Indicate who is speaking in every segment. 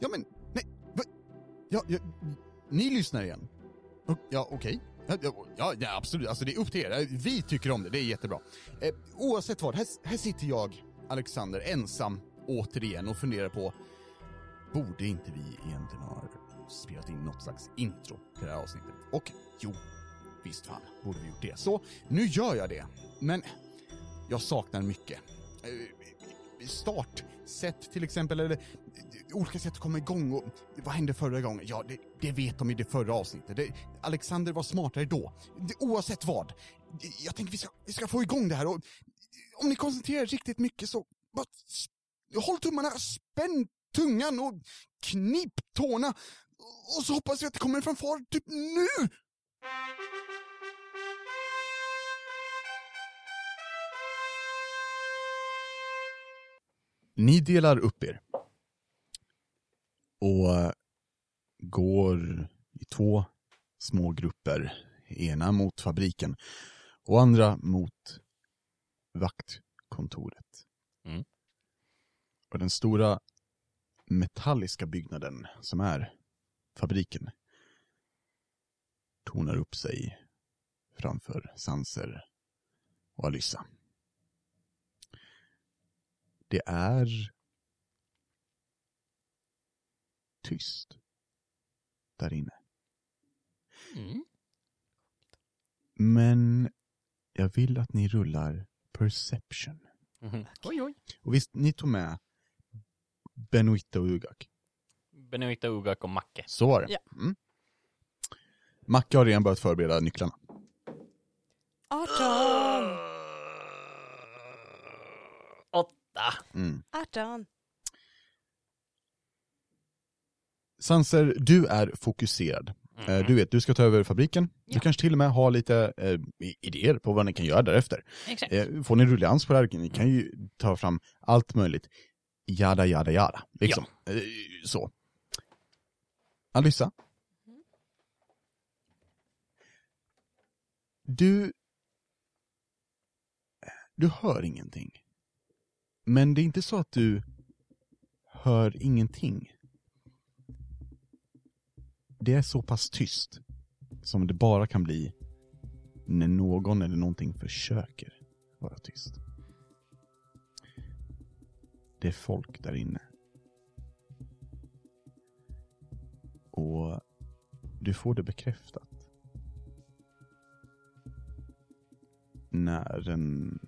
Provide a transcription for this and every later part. Speaker 1: Ja men, nej, va? ja, ja, ni lyssnar igen? O- Ja, okej. Ja, ja, Ja, ja, absolut. Alltså det är upp till er. Vi tycker om det, det är jättebra. Eh, oavsett vad, här, här sitter jag, Alexander, ensam återigen och funderar på Borde inte vi egentligen ha spelat in något slags intro till det här avsnittet? Och jo, visst fan borde vi gjort det. Så nu gör jag det. Men jag saknar mycket. Eh, Start, sätt till exempel, eller eh, olika sätt att komma igång och vad hände förra gången? Ja, det, det vet de i det förra avsnittet. Det, Alexander var smartare då. Det, oavsett vad. Jag tänker vi ska, vi ska få igång det här och eh, om ni koncentrerar er riktigt mycket så bara s- håll tummarna, spänn tungan och knip tårna och så hoppas jag att det kommer en fanfar typ nu! Ni delar upp er. Och går i två små grupper. Ena mot fabriken och andra mot vaktkontoret.
Speaker 2: Mm.
Speaker 1: Och den stora metalliska byggnaden som är fabriken tornar upp sig framför Sanser och Alyssa. Det är tyst där inne.
Speaker 2: Mm.
Speaker 1: Men jag vill att ni rullar perception.
Speaker 2: Mm-hmm. Oj, oj.
Speaker 1: Och visst, ni tog med Benoita och Ugak.
Speaker 2: Benoita Ugak och Macke.
Speaker 1: Så var det.
Speaker 3: Ja.
Speaker 1: Mm. Macke har redan börjat förbereda nycklarna.
Speaker 3: 18!
Speaker 2: Åtta.
Speaker 1: Mm.
Speaker 3: 18!
Speaker 1: Sanser, du är fokuserad. Eh, Du vet, du ska ta över fabriken. Du
Speaker 2: Mm. Ja.
Speaker 1: kanske till och med har lite eh, i- idéer på vad ni kan göra därefter.
Speaker 2: Mm. Exakt.
Speaker 1: Eh, får ni rullians på det här, ni kan ju ta fram allt möjligt. Jada, jada, jada. Liksom. Eh, så. Alyssa. Du... Du hör ingenting. Men det är inte så att du hör ingenting. Det är så pass tyst som det bara kan bli när någon eller någonting försöker vara tyst. Det är folk där inne. Och du får det bekräftat. När en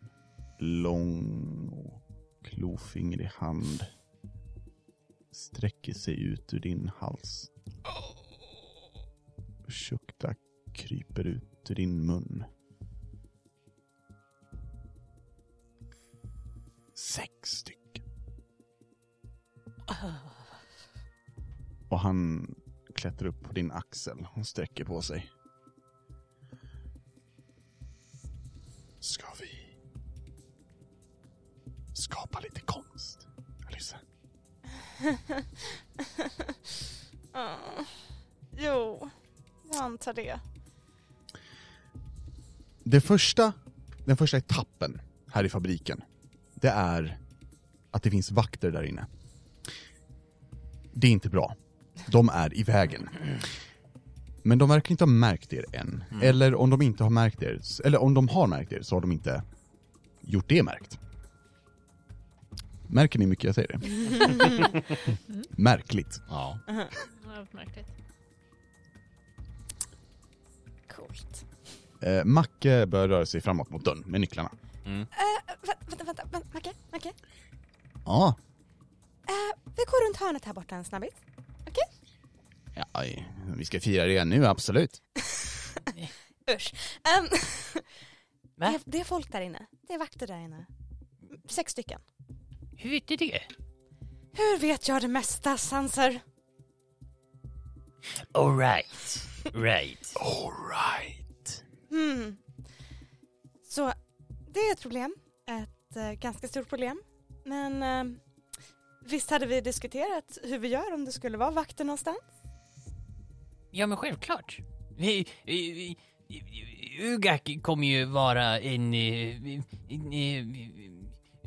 Speaker 1: lång och klofingrig hand sträcker sig ut ur din hals. Och tjukta kryper ut ur din mun. sex stycken. Och han klättrar upp på din axel och sträcker på sig. Ska vi skapa lite konst, Alyssa?
Speaker 3: Ah. Jo, jag antar det.
Speaker 1: Det första, den första etappen här i fabriken, det är att det finns vakter där inne. Det är inte bra. De är i vägen. Men de verkar inte ha märkt er än. Eller om de inte har märkt er, eller om de har märkt er så har de inte gjort det märkt. Märker ni hur mycket jag säger det? Märkligt.
Speaker 2: Ja.
Speaker 4: Vad märkligt.
Speaker 3: Coolt.
Speaker 1: Eh, Macke börjar röra sig framåt mot dörren med nycklarna.
Speaker 3: Äh, vä- vänta, vänta, vänta, Macke, Macke.
Speaker 1: Ja,
Speaker 3: Äh, vi går runt hörnet här borta en snabbis. Okej?
Speaker 1: ja vi ska fira det nu, absolut.
Speaker 3: Usch. Ehm,
Speaker 2: Va?
Speaker 3: det, är, det är folk där inne. Det är vakter där inne. M- Sex stycken.
Speaker 2: Hur vet du det?
Speaker 3: Hur vet jag det mesta, Sanser?
Speaker 2: Alright. Right.
Speaker 1: Alright.
Speaker 3: Hmm. Så det är ett problem. Ett eh, ganska stort problem. Men eh, visst hade vi diskuterat hur vi gör om det skulle vara vakter någonstans?
Speaker 2: Ja, men självklart. Vi, vi, vi, Ugak kommer ju vara en... eh, en, eh,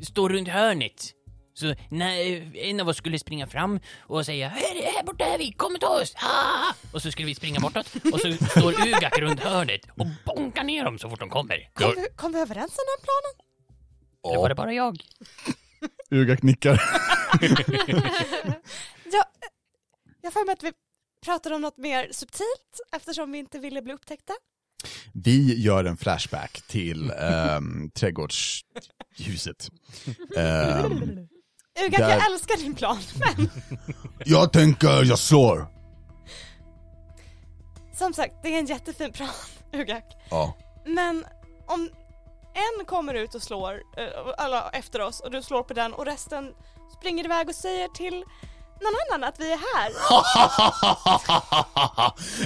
Speaker 2: Stå runt hörnet. Så när en av oss skulle springa fram och säga här, här borta är vi, kom och ta oss! Ah! Och så skulle vi springa bortåt och så står Ugak runt hörnet och bonkar ner dem så fort de kommer.
Speaker 3: Kom, vi, kom vi överens om den planen?
Speaker 2: Eller var det bara jag?
Speaker 1: Ugak nickar.
Speaker 3: Ja, eh, jag får med att vi pratade om något mer subtilt eftersom vi inte ville bli upptäckta.
Speaker 1: Vi gör en flashback till ehm, trädgårdsljuset. Ehm,
Speaker 3: Ugak,
Speaker 1: Där.
Speaker 3: jag älskar din plan, men
Speaker 1: jag tänker jag slår.
Speaker 3: som sagt, det är en jättefin plan, Ugak.
Speaker 1: Ja.
Speaker 3: Men om en kommer ut och slår, eh, alla efter oss, och du slår på den och resten springer iväg och säger till någon annan att vi är här.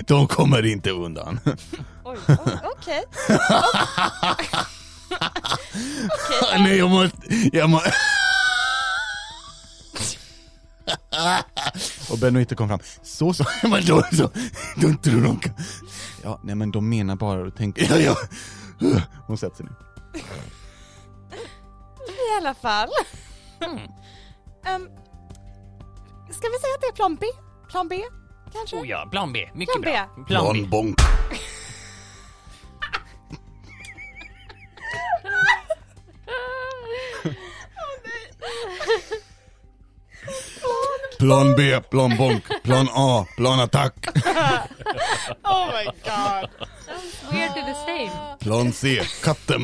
Speaker 1: De kommer inte undan.
Speaker 3: Oj, oj, okej. Okej,
Speaker 1: Nej, jag måste... Jag må... Och Benno inte kom fram. Så så, men då så, då inte du någon kan- Ja, nej men de menar bara och tänker... Ja, ja. Hon sätter sig ner.
Speaker 3: i alla fall.
Speaker 2: Mm.
Speaker 3: Um, ska vi säga att det är plan B? Plan B, kanske?
Speaker 2: Oh ja, plan B. Mycket
Speaker 3: Plan B.
Speaker 2: bra. Plan B.
Speaker 1: bonk. Plan B, plan bonk, plan A, plan attack,
Speaker 3: Oh my god.
Speaker 4: We're to the same.
Speaker 1: plan C, katten.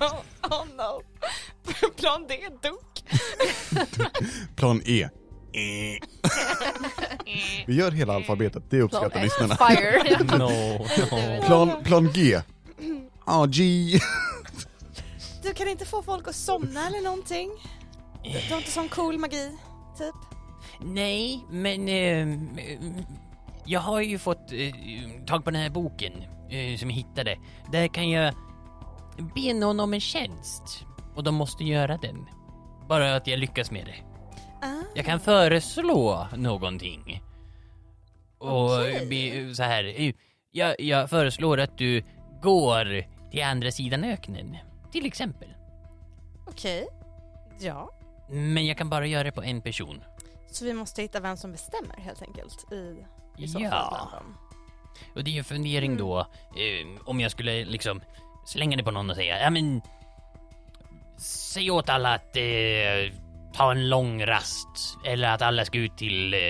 Speaker 3: Oh, oh no. Plan D, dunk.
Speaker 1: Plan E. Vi gör hela alfabetet, det uppskattar lyssnarna.
Speaker 4: Fire.
Speaker 2: No, no.
Speaker 1: Plan, plan G. A, G.
Speaker 3: Du kan inte få folk att somna eller någonting? Du har inte sån cool magi, typ?
Speaker 2: Nej, men ehm, ehm, jag har ju fått eh, tag på den här boken eh, som jag hittade. Där kan jag be någon om en tjänst och de måste göra den. Bara att jag lyckas med det.
Speaker 3: Ah.
Speaker 2: Jag kan föreslå någonting. Och be, så här. eh, Jag, jag föreslår att du går till andra sidan öknen, till exempel.
Speaker 3: Okej. Ja.
Speaker 2: Men jag kan bara göra det på en person.
Speaker 3: Så vi måste hitta vem som bestämmer helt enkelt i, i så
Speaker 2: Ja.
Speaker 3: fall bland dem.
Speaker 2: Och det är ju en fundering då, eh, om jag skulle liksom slänga det på någon och säga, ja men... Säg åt alla att eh, ta en lång rast, eller att alla ska ut till... Eh,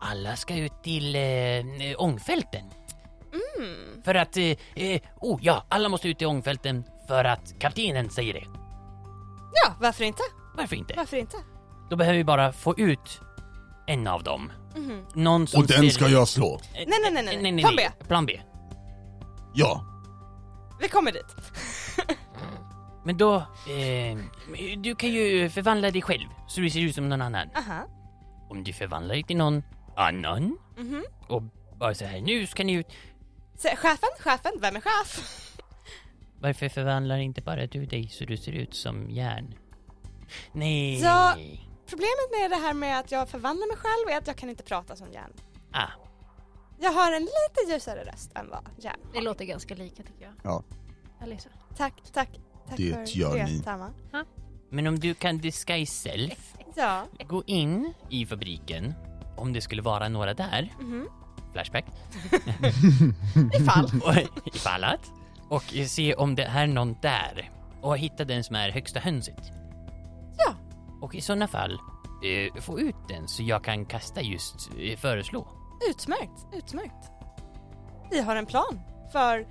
Speaker 2: alla ska ut till eh, ångfälten.
Speaker 3: Mm.
Speaker 2: För att, eh, eh, oh ja, alla måste ut till ångfälten för att kaptenen säger det.
Speaker 3: Ja, varför inte?
Speaker 2: Varför inte?
Speaker 3: Varför inte?
Speaker 2: Då behöver vi bara få ut en av dem.
Speaker 3: Mhm.
Speaker 2: Någon som
Speaker 1: Och den ska
Speaker 2: ser-
Speaker 1: jag slå.
Speaker 2: Eh,
Speaker 3: Nej, nej, nej, nej,
Speaker 2: nej, nej.
Speaker 3: plan B.
Speaker 2: Plan B.
Speaker 1: Ja.
Speaker 3: Vi kommer dit.
Speaker 2: Men då, eh, du kan ju förvandla dig själv så du ser ut som någon annan.
Speaker 3: Aha.
Speaker 2: Om du förvandlar dig till någon annan
Speaker 3: Mhm.
Speaker 2: och bara så här, nu ska ni ut.
Speaker 3: Så, chefen, chefen, vem är chef?
Speaker 2: Varför förvandlar inte bara du dig så du ser ut som järn? Nej.
Speaker 3: Ja. Problemet med det här med att jag förvandlar mig själv är att jag kan inte prata som Jan.
Speaker 2: Ah,
Speaker 3: Jag har en lite ljusare röst än vad Jan.
Speaker 4: Det låter ganska lika tycker jag.
Speaker 1: Ja.
Speaker 4: Alisa.
Speaker 3: Tack, tack, tack
Speaker 1: Det
Speaker 3: för
Speaker 1: gör
Speaker 3: det,
Speaker 1: ni.
Speaker 3: Tama.
Speaker 2: men om du kan disguise self,
Speaker 3: Ja,
Speaker 2: gå in i fabriken, om det skulle vara några där,
Speaker 3: mhm.
Speaker 2: flashback,
Speaker 3: ifall.
Speaker 2: och- ifall att, och se om det är någon där och hitta den som är högsta hönset.
Speaker 3: Ja,
Speaker 2: Och i sådana fall, eh, få ut den så jag kan kasta just eh, föreslå.
Speaker 3: utmärkt, utmärkt. Vi har en plan för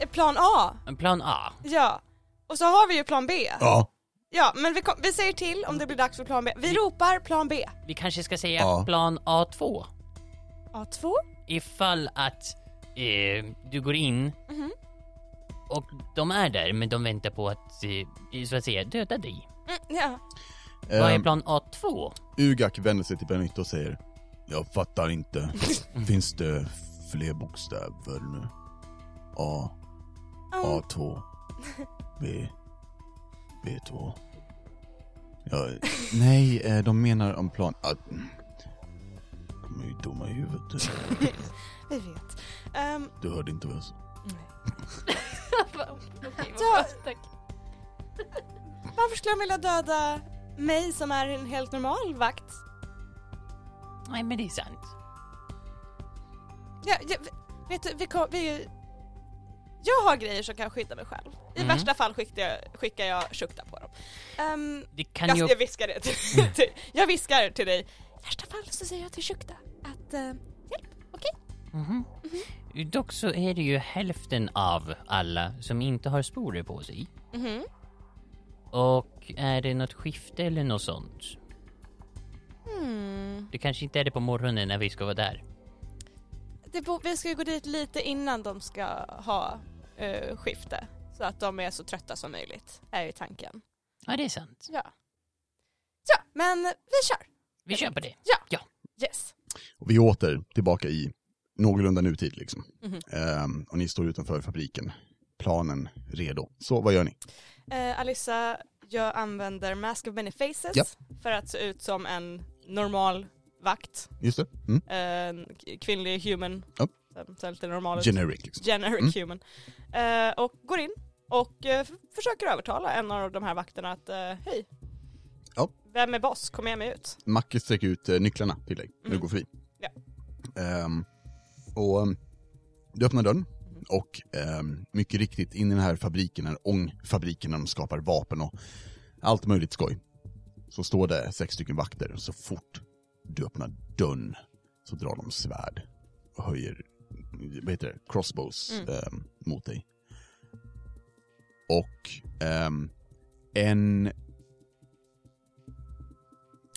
Speaker 3: eh, plan A.
Speaker 2: En Plan A.
Speaker 3: Ja, och så har vi ju plan B.
Speaker 1: Ja.
Speaker 3: Ja, men vi, kom, vi säger till om det blir dags för plan B. Vi ropar plan B.
Speaker 2: Vi kanske ska säga
Speaker 1: A.
Speaker 2: plan A2.
Speaker 3: A2.
Speaker 2: Ifall att eh, du går in
Speaker 3: Mhm.
Speaker 2: och de är där men de väntar på att, eh, så att säga, döda dig.
Speaker 3: Mm, ja.
Speaker 2: Vad är
Speaker 1: Ehm,
Speaker 2: plan A2?
Speaker 1: Ugak vänder sig till Benito och säger Jag fattar inte. Finns det fler bokstäver nu? A,
Speaker 3: Um,
Speaker 1: A2, B, B2. Ja, nej, eh, de menar om plan... Ah, mm. De är ju dumma i huvudet.
Speaker 3: vi vet. Ehm,
Speaker 1: Du hörde inte vad jag sa.
Speaker 4: Okej,
Speaker 3: Ja.
Speaker 4: vad bra. Tack.
Speaker 3: varför skulle de vilja döda mig som är en helt normal vakt.
Speaker 2: Nej, men det är sant.
Speaker 3: Ja, ja, vet du, vi, kom, vi, jag har grejer som kan skydda mig själv. I
Speaker 2: Mm.
Speaker 3: värsta fall skickar jag, skickar jag Shukta på dem. Ehm,
Speaker 2: Det kan
Speaker 3: jag,
Speaker 2: ju...
Speaker 3: jag viskar det till, till, jag viskar till dig. I värsta fall så säger jag till Shukta att eh,
Speaker 2: Mhm. Dock så är det ju hälften av alla som inte har sporer på sig.
Speaker 3: mhm.
Speaker 2: Och är det något skifte eller något sånt?
Speaker 3: hmm.
Speaker 2: Det kanske inte är det på morgonen när vi ska vara där.
Speaker 3: det bo, vi ska ju gå dit lite innan de ska ha eh, skifte. Så att de är så trötta som möjligt, är ju tanken.
Speaker 2: Ja, det är sant.
Speaker 3: Ja. Ja, men vi kör!
Speaker 2: Vi kör på det.
Speaker 3: Yes.
Speaker 1: Och vi är åter tillbaka i någorlunda nutid liksom.
Speaker 3: Mhm.
Speaker 1: Ehm, och ni står utanför fabriken. Planen redo. Så vad gör ni?
Speaker 3: Eh, Alissa, jag använder Mask of Many Faces
Speaker 1: Ja.
Speaker 3: för att se ut som en normal vakt.
Speaker 1: Just det. Mm.
Speaker 3: En k- kvinnlig human.
Speaker 1: Ja.
Speaker 3: Som ser lite normal ut.
Speaker 1: Generic liksom.
Speaker 3: Generic
Speaker 1: Mm.
Speaker 3: human. Eh, och går in och eh, f- försöker övertala en av de här vakterna att eh, hej,
Speaker 1: Ja.
Speaker 3: vem är boss? Kom med mig ut.
Speaker 1: Macke sträcker ut eh, nycklarna till dig när du
Speaker 3: Mm.
Speaker 1: går förbi.
Speaker 3: Ja.
Speaker 1: Ehm, och ehm, du öppnar dörren
Speaker 3: Mm.
Speaker 1: och ehm, mycket riktigt in i den här fabriken, den här ångfabriken där de skapar vapen och allt möjligt skoj. Så står det sex stycken vakter och så fort du öppnar dörren så drar de svärd och höjer, vad heter det, crossbows
Speaker 3: Mm.
Speaker 1: ehm, mot dig. Och ehm, en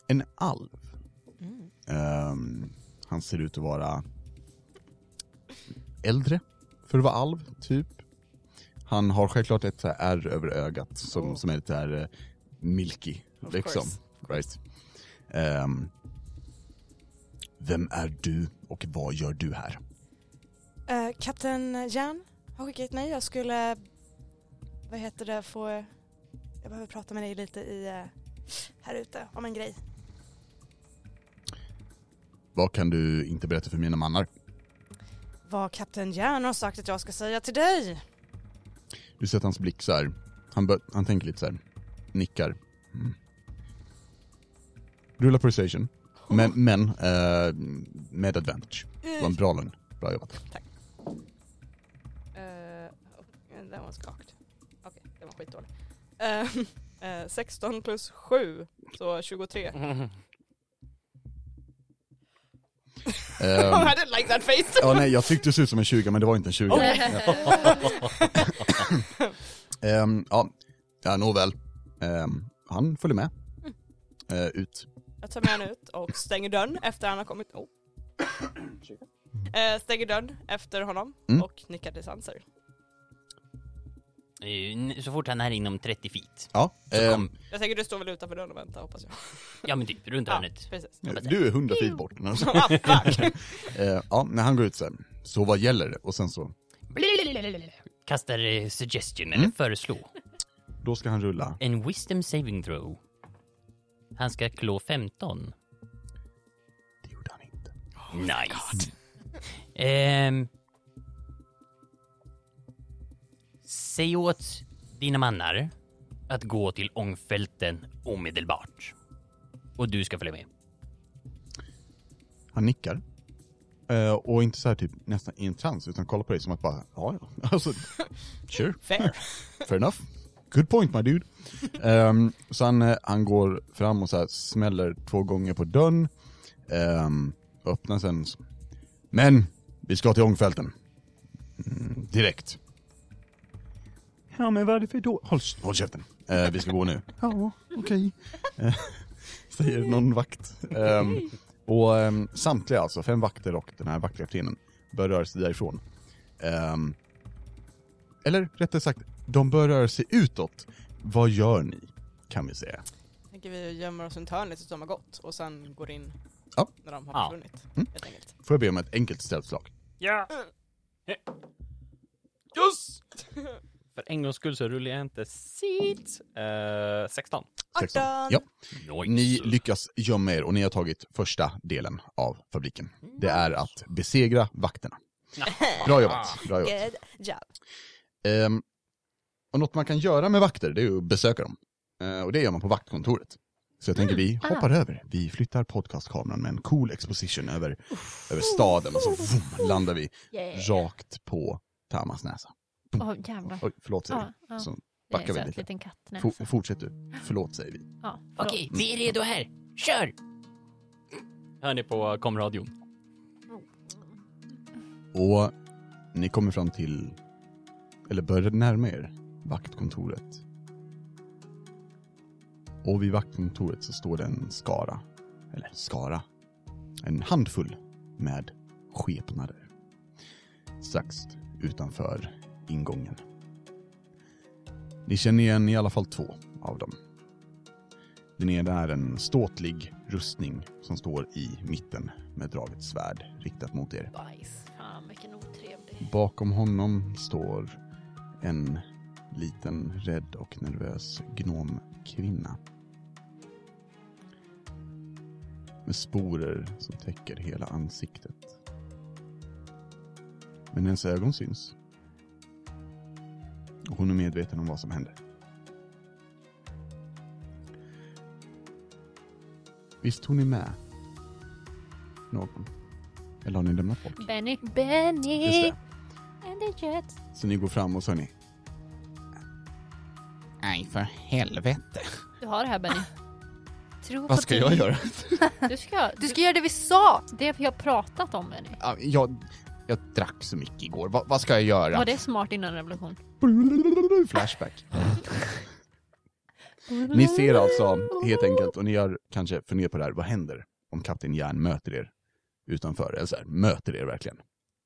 Speaker 1: en alv.
Speaker 3: Mm.
Speaker 1: Ehm, han ser ut att vara äldre för att vara alv, typ. Han har självklart ett så här ärr över ögat som,
Speaker 3: Oh.
Speaker 1: som är lite här eh, milky,
Speaker 3: Of
Speaker 1: liksom.
Speaker 3: course.
Speaker 1: Right. Ehm, vem är du och vad gör du här?
Speaker 3: Eh, Kapten Jan har skickat mig. Jag skulle, vad heter det, få, jag behöver prata med dig lite i, eh, här ute om en grej.
Speaker 1: Vad kan du inte berätta för mina mannar?
Speaker 3: Vad kapten Järn har sagt att jag ska säga till dig.
Speaker 1: Du ser att hans blick så här, han, bör, han tänker lite så här, nickar. Mm. Rulla persuasion, men, men eh, med advantage.
Speaker 3: Mm.
Speaker 1: Det var en bra lögn. Bra jobbat.
Speaker 3: Eh, den var skakt. Okej, den var skitdålig. Eh, eh, 16 plus 7, så 23.
Speaker 1: Ehm,
Speaker 3: I didn't like that face!
Speaker 1: ja, nej, jag tyckte det såg ut som en 20 men det var inte en 20. Ehm, ja, ja nåväl. Ehm, han följer med. Eh, ut.
Speaker 3: Jag tar med honom ut och stänger dörren efter han har kommit. Oh. Eh, stänger dörren efter honom
Speaker 1: Mm.
Speaker 3: och nickar till Sanser.
Speaker 2: Eh, n- Så fort han är inom 30 feet.
Speaker 1: Ja,
Speaker 2: Så
Speaker 1: ehm,
Speaker 2: kom,
Speaker 3: Jag tänker du står väl utanför dörren och väntar hoppas jag.
Speaker 2: ja men typ, runt
Speaker 3: Ja.
Speaker 2: hörnet.
Speaker 3: Precis.
Speaker 1: du är 100 feet bort. Alltså,
Speaker 3: Ah, fuck.
Speaker 1: Eh, ja, när han går ut sen. Så vad gäller det? Och sen så,
Speaker 2: Kastar eh, suggestion,
Speaker 1: Mm.
Speaker 2: eller föreslå.
Speaker 1: då ska han rulla.
Speaker 2: En wisdom saving throw. Han ska klå 15.
Speaker 1: Det gjorde han inte.
Speaker 2: Nice. Ehm. Säg åt dina mannar att gå till ångfälten omedelbart. Och du ska följa med.
Speaker 1: Han nickar. Eh, och inte så här typ nästan i en trans, utan kollar på dig som att bara, ja ja. Alltså, sure.
Speaker 3: Fair.
Speaker 1: Fair enough. Good point my dude. Ehm, så han, eh, han går fram och så här smäller två gånger på dörren. Ehm, öppnar sen. Men, vi ska till ångfälten. Mm, direkt. Ja men varför då? Håll, håll käften. Eh, vi ska gå nu. Ja, okej. Eh, Säger någon vakt. Ehm, och ehm, samtliga alltså, fem vakter och den här vaktkaptenen bör röra sig därifrån. Ehm, eller rättare sagt, de bör röra sig utåt. Vad gör ni? Kan vi säga.
Speaker 3: tänker vi gömmer oss runt hörnet tills de har gått och sen går in
Speaker 1: Ja.
Speaker 3: när de
Speaker 2: Ja.
Speaker 3: har försvunnit.
Speaker 1: Mm.
Speaker 3: Helt enkelt.
Speaker 1: Får jag be om ett enkelt ställslag?
Speaker 5: Ja! Yes! För en gångs skull så rullar jag inte sitt. Eh, 16.
Speaker 1: 16.
Speaker 3: 18.
Speaker 1: Ja. Ni lyckas gömma er och ni har tagit första delen av fabriken. Det är att besegra vakterna. Bra jobbat. Bra jobbat.
Speaker 3: Good job.
Speaker 1: Ehm, och något man kan göra med vakter, det är ju att besöka dem. Eh, och det gör man på vaktkontoret. Så jag tänker vi hoppar över. Vi flyttar podcastkameran med en cool exposition över, över staden och så vroom, landar vi rakt på Tamas näsa.
Speaker 4: Åh jävlar.
Speaker 1: Oj, förlåt säger
Speaker 4: Ja, ja.
Speaker 1: Så
Speaker 4: Det
Speaker 1: backar
Speaker 4: är en
Speaker 1: vi
Speaker 4: söt
Speaker 1: lite.
Speaker 4: liten kattnäsa.
Speaker 1: vi. For, fortsätt du. Förlåt säger vi.
Speaker 4: Ja, förlåt.
Speaker 2: Okej, vi är redo här. Kör!
Speaker 5: Hör ni på komradion?
Speaker 1: Och ni kommer fram till, eller börjar närma er, vaktkontoret. Och vid vaktkontoret så står det en skara, eller skara, en handfull med skepnader. Strax utanför ingången. Ni känner igen i alla fall två av dem. Den ena är en ståtlig rustning som står i mitten med draget svärd riktat mot er.
Speaker 4: Bajs. Fan vilken otrevlig.
Speaker 1: Bakom honom står en liten rädd och nervös gnomkvinna. Med sporer som täcker hela ansiktet. Men hennes ögon syns. Och hon är medveten om vad som hände. Visst tog ni med någon? Eller har ni lämnat bort?
Speaker 4: Benny.
Speaker 1: Just det.
Speaker 4: Benny! And the Jets.
Speaker 1: Så ni går fram och så hör ni. Nej, för helvete.
Speaker 4: Du har det här Benny. Tro på
Speaker 1: Vad ska
Speaker 4: dig.
Speaker 1: jag göra?
Speaker 4: Du ska, du
Speaker 6: Du
Speaker 4: ska...
Speaker 6: ska göra det vi sa!
Speaker 4: Det vi har pratat om Benny.
Speaker 1: Ja, Jag, jag drack så mycket igår. Va, vad ska jag göra?
Speaker 4: Var det smart innan revolution?
Speaker 1: Flashback. Ni ser alltså helt enkelt, och ni har kanske funderat på det här, vad händer om Kapten Järn möter er utanför? Eller så här, möter er verkligen.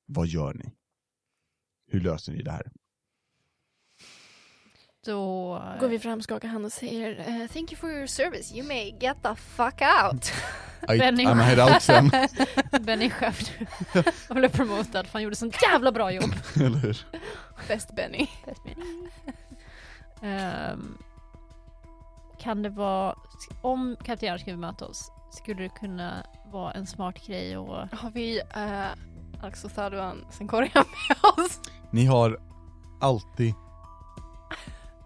Speaker 1: Vad gör ni? Hur löser ni det här?
Speaker 4: Då...
Speaker 6: Går vi fram, skakar hand och säger eh, “Thank you for your service, you may get the fuck out”.
Speaker 1: I,
Speaker 4: Benny.
Speaker 1: I'm head out sen.
Speaker 4: Benny chef nu. Han blev promotad för han gjorde sånt jävla bra jobb.
Speaker 1: Eller hur?
Speaker 6: Bäst Benny.
Speaker 4: Ehm, kan det vara, om Kapten Järn skulle möta oss, skulle det kunna vara en smart grej och
Speaker 6: Har vi eh, Axel Saduan Senkorian med oss?
Speaker 1: Ni har alltid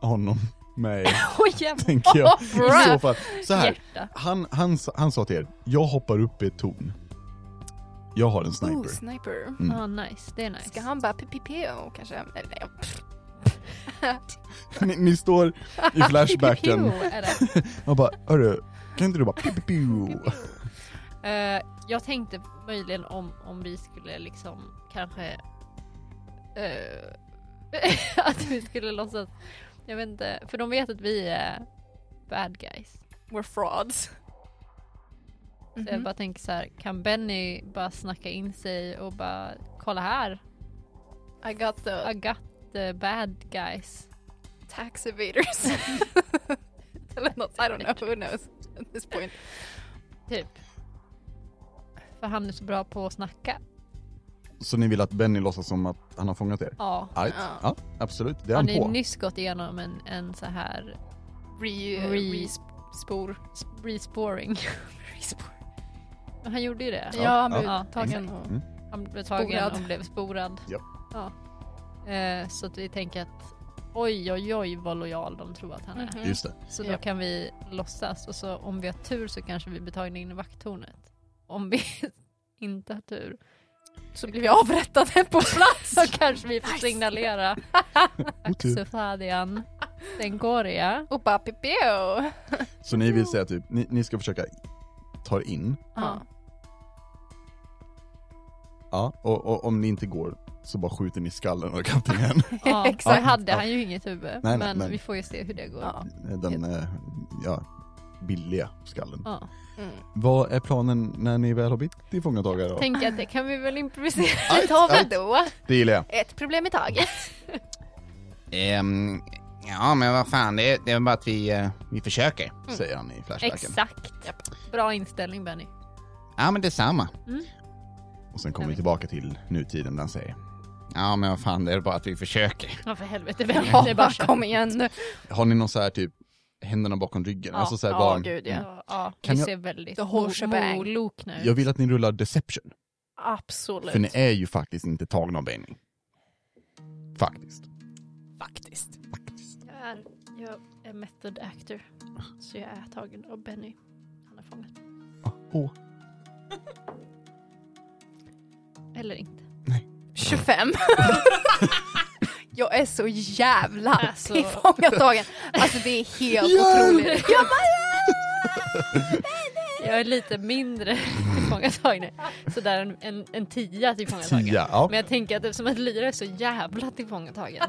Speaker 1: honom med er.
Speaker 4: Oj jävlar!
Speaker 1: tänker jag. I
Speaker 4: Bruh.
Speaker 1: så fall. Så här,
Speaker 4: Hjärta.
Speaker 1: han, han, sa- han sa till er, jag hoppar upp i ett torn. Jag har en
Speaker 6: Ooh,
Speaker 1: sniper.
Speaker 6: sniper.
Speaker 1: Mm.
Speaker 4: Ja, Ah, nice. Det är nice.
Speaker 6: Ska han bara PPPO kanske? Eller nej. pff.
Speaker 1: Ni, ni står i flashbacken
Speaker 4: Pew, är det.
Speaker 1: och bara, hörru, kan inte du bara piu, piu, piu?
Speaker 4: Eh, jag tänkte möjligen om, om vi skulle liksom kanske... eh, att vi skulle låtsas... Jag vet inte, för de vet att vi är bad guys.
Speaker 6: We're frauds. Mm-hmm. Eh,
Speaker 4: Så
Speaker 6: Mhm.
Speaker 4: jag bara tänker så här, kan Benny bara snacka in sig och bara kolla här,
Speaker 6: I got the
Speaker 4: I got the bad guys.
Speaker 6: tax evaders. Eller något, I don't know, who knows at this point.
Speaker 4: Typ. För han är så bra på att snacka.
Speaker 1: Så ni vill att Benny låtsas som att han har fångat er?
Speaker 4: Ja.
Speaker 1: Right.
Speaker 6: Ja.
Speaker 1: Ja, absolut. Det är han
Speaker 4: Han har ju
Speaker 1: på.
Speaker 4: nyss gått igenom en, en så här
Speaker 6: Re,
Speaker 4: Re-
Speaker 6: respor.
Speaker 4: sp- resporing. Men han gjorde ju det.
Speaker 1: Ja,
Speaker 6: Ja, han
Speaker 1: ja.
Speaker 6: blev
Speaker 4: Ja, tagen.
Speaker 6: tagen. och-
Speaker 1: Mm.
Speaker 4: Han blev tagen
Speaker 6: Sporad.
Speaker 4: och blev sporad.
Speaker 1: Ja.
Speaker 4: Ja. Eh, så att vi tänker att oj oj oj vad lojal de tror att han är.
Speaker 6: Mhm.
Speaker 1: Just det.
Speaker 4: Så då
Speaker 6: Ja.
Speaker 4: kan vi låtsas och så om vi har tur så kanske vi blir tagna in i vakttornet. Om vi inte har tur
Speaker 6: Så blev jag avrättade på plats.
Speaker 4: så kanske vi får signalera
Speaker 1: Otur.
Speaker 4: Sufadian Dengoria.
Speaker 6: Och bara PPO.
Speaker 1: Så ni vill säga typ, ni, ni ska försöka ta er in.
Speaker 4: Ja.
Speaker 1: Ja, och, och om ni inte går så bara skjuter ni skallen av kaptenen.
Speaker 4: Ja,
Speaker 6: Exakt.
Speaker 4: så hade
Speaker 1: Ja.
Speaker 4: han ju inget huvud.
Speaker 1: nej,
Speaker 4: men
Speaker 1: nej.
Speaker 4: vi får ju se hur det går. Ja.
Speaker 6: Ja.
Speaker 1: Den, eh, ja, billiga skallen.
Speaker 6: Mm.
Speaker 1: Vad är planen när ni väl har blivit tillfångatagare då?
Speaker 4: Tänk att det kan vi väl improvisera.
Speaker 6: Vi tar väl då
Speaker 1: Det gillar jag.
Speaker 6: ett problem i taget.
Speaker 7: Ehm, ja, men vad fan, det, det är bara att vi, eh, vi försöker.
Speaker 6: Mm.
Speaker 1: säger han i Flashbacken.
Speaker 4: Exakt. Bra inställning Benny.
Speaker 7: Ja, men detsamma.
Speaker 6: Mm.
Speaker 1: Och sen kommer vi tillbaka till nutiden där han säger
Speaker 7: Ja, men vad fan, det är bara att vi försöker.
Speaker 4: Ja för helvete Benny. det är bara så.
Speaker 6: kom igen nu.
Speaker 1: Har ni någon så här typ händerna bakom ryggen? Alltså så här,
Speaker 6: ja
Speaker 1: bara,
Speaker 6: gud ja.
Speaker 4: Ja, ja,
Speaker 1: Kan
Speaker 4: Mm. vi
Speaker 1: jag-
Speaker 4: ser väldigt
Speaker 6: The whole shebang.
Speaker 4: molok nu.
Speaker 1: Mm. Jag vill att ni rullar deception.
Speaker 6: Absolut.
Speaker 1: För ni är ju faktiskt inte tagna av Benny. Faktiskt.
Speaker 6: Faktiskt.
Speaker 4: Jag är, jag är method actor. Så jag är tagen av Benny. Han är fångat.
Speaker 1: Åh,
Speaker 4: Eller inte.
Speaker 6: 25. jag är så jävla
Speaker 4: Alltså.
Speaker 6: tillfångatagen. Alltså det är helt
Speaker 1: Hjälp!
Speaker 6: otroligt. Jag bara,
Speaker 4: Jag är lite mindre tillfångatagen. Så där en, en, en tia tillfångatagen.
Speaker 1: tia. Ja.
Speaker 4: Men jag tänker att eftersom att Lyra är så jävla tillfångatagen.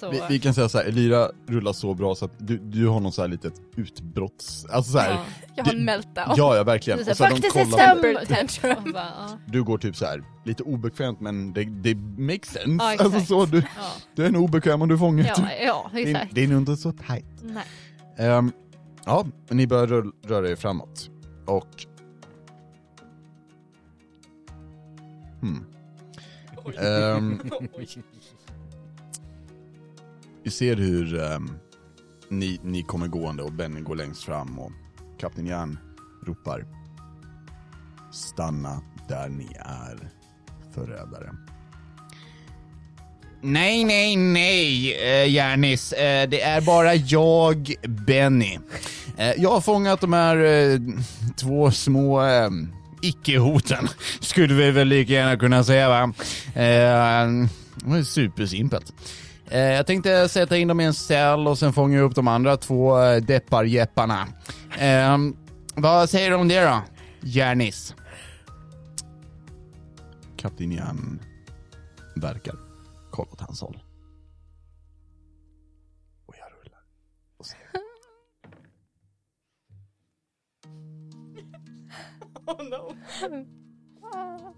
Speaker 4: Så...
Speaker 1: Vi, vi kan säga så här, Lyra rullar så bra så att du, du har någon så här litet utbrotts... Alltså så här,
Speaker 4: Ja.
Speaker 6: jag har
Speaker 1: Det-
Speaker 6: en meltdown.
Speaker 1: ja. ja, verkligen.
Speaker 4: Det är så här,
Speaker 1: Och så här, de
Speaker 6: Faktiskt ett
Speaker 1: kollar,
Speaker 6: temper
Speaker 4: Och
Speaker 6: tantrum.
Speaker 4: bara, ja,
Speaker 1: du går typ så här lite obekvämt men det, det makes sense.
Speaker 4: Ja, exakt.
Speaker 1: alltså så, du,
Speaker 4: ja,
Speaker 1: du är en obekväm om du fångar
Speaker 4: ja, ja,
Speaker 1: det, är-
Speaker 4: exakt.
Speaker 1: det är nog inte så tight.
Speaker 4: Nej.
Speaker 1: Ehm, ja, men ni börjar rull- röra er framåt. Och... Hmm. Ehm, vi ser hur ehm, ni, ni kommer gående och Benny går längst fram och Kapten Järn ropar Stanna där ni är, förrädare.
Speaker 7: Nej, nej, nej, eh, Järnis. Eh, det är bara jag, Benny.
Speaker 1: Eh, jag har fångat de här eh, två små eh,
Speaker 7: Icke-hoten, skulle vi väl lika gärna kunna säga va? Eh, det var supersimpelt. Eh, jag tänkte sätta in dem i en cell och sen fånga upp de andra två eh, depparjepparna. Eh, vad säger du om det då, Järnis?
Speaker 1: Kapten Järn verkar kolla åt hans håll. Och jag rullar. Och ser.
Speaker 3: Oh no. Oh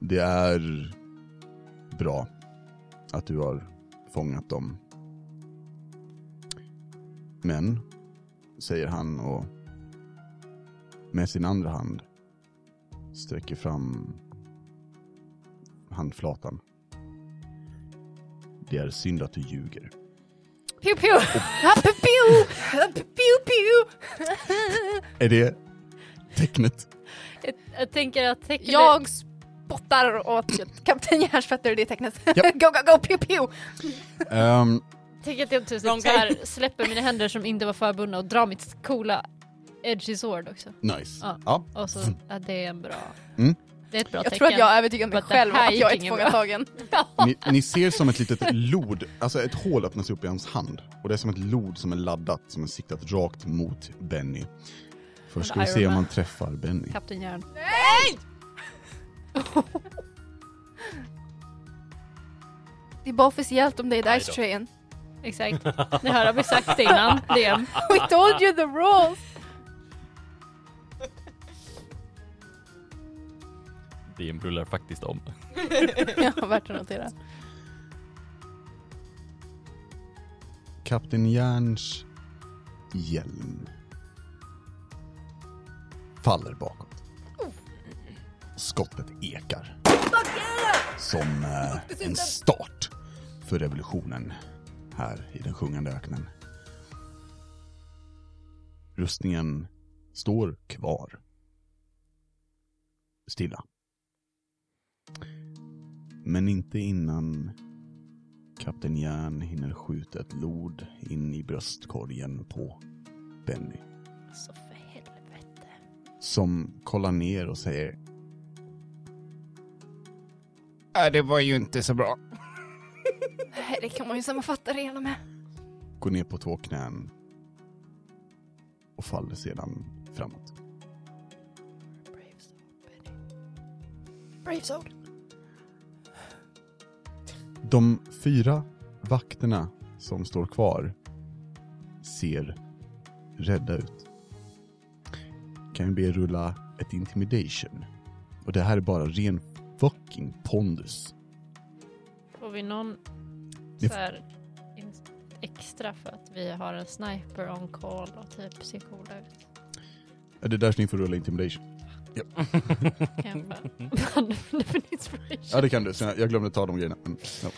Speaker 1: Det är bra att du har fångat dem. Men, säger han och med sin andra hand sträcker fram handflatan. Det är synd att du ljuger.
Speaker 6: Pew pew. Pew pew. pew.
Speaker 1: Är det tecknet?
Speaker 4: Jag, jag tänker att tecknet...
Speaker 6: Jag spottar åt kapten Järnsfötter, det är tecknet.
Speaker 1: Japp.
Speaker 6: go, go, go, pew pew.
Speaker 1: Ehm,
Speaker 4: Tänk att jag typ
Speaker 3: Wrong
Speaker 4: så här, släpper mina händer som inte var förbundna och drar mitt coola edgy sword också.
Speaker 1: nice.
Speaker 4: Ja.
Speaker 1: Ja.
Speaker 4: Och så, ja, det är en bra...
Speaker 1: Mm.
Speaker 4: Det är ett bra
Speaker 6: Jag
Speaker 4: tecken.
Speaker 6: tror att jag övertygar mig
Speaker 4: But det
Speaker 6: själv om
Speaker 4: här
Speaker 6: att jag är
Speaker 4: gick inget bra.
Speaker 6: tillfångatagen.
Speaker 1: Ni, ni ser som ett litet lod, alltså ett hål öppnas upp i hans hand. Och det är som ett lod som är laddat, som är siktat rakt mot Benny. Först ska vi
Speaker 4: Iron
Speaker 1: se om
Speaker 4: Man.
Speaker 1: han träffar Benny.
Speaker 4: Kapten Järn.
Speaker 6: Det är bara officiellt om det är
Speaker 2: Aj
Speaker 6: Dice
Speaker 2: då.
Speaker 6: Train.
Speaker 4: Exakt. Det har vi sagt innan. Det är en
Speaker 6: We told you the rules!
Speaker 5: DM rullar faktiskt om.
Speaker 6: ja, värt att notera.
Speaker 1: Kapten Järns hjälm faller bakåt. Skottet ekar. Som eh, en start för revolutionen här i den sjungande öknen. Rustningen står kvar. Stilla. Men inte innan Kapten Järn hinner skjuta ett lod in i bröstkorgen på Benny.
Speaker 4: Så för helvete.
Speaker 1: Som kollar ner och säger
Speaker 7: Ja, "Äh, det var ju inte så bra.
Speaker 6: Nej, Det kan man ju sammanfatta det hela med.
Speaker 1: går ner på två knän och faller sedan framåt.
Speaker 4: Brave soul, Benny.
Speaker 6: Brave soul.
Speaker 1: De fyra vakterna som står kvar ser rädda ut. Kan vi be er rulla ett intimidation? Och det här är bara ren fucking pondus.
Speaker 4: Får vi någon
Speaker 1: Ni-
Speaker 4: så här, in, extra för att vi har en sniper on call och typ ser coola ut?
Speaker 1: Är det är därför ni får rulla intimidation?
Speaker 4: Kan jag bara använda för inspiration?
Speaker 1: Ja det kan du, så jag jag glömde ta de grejerna. Men, ja.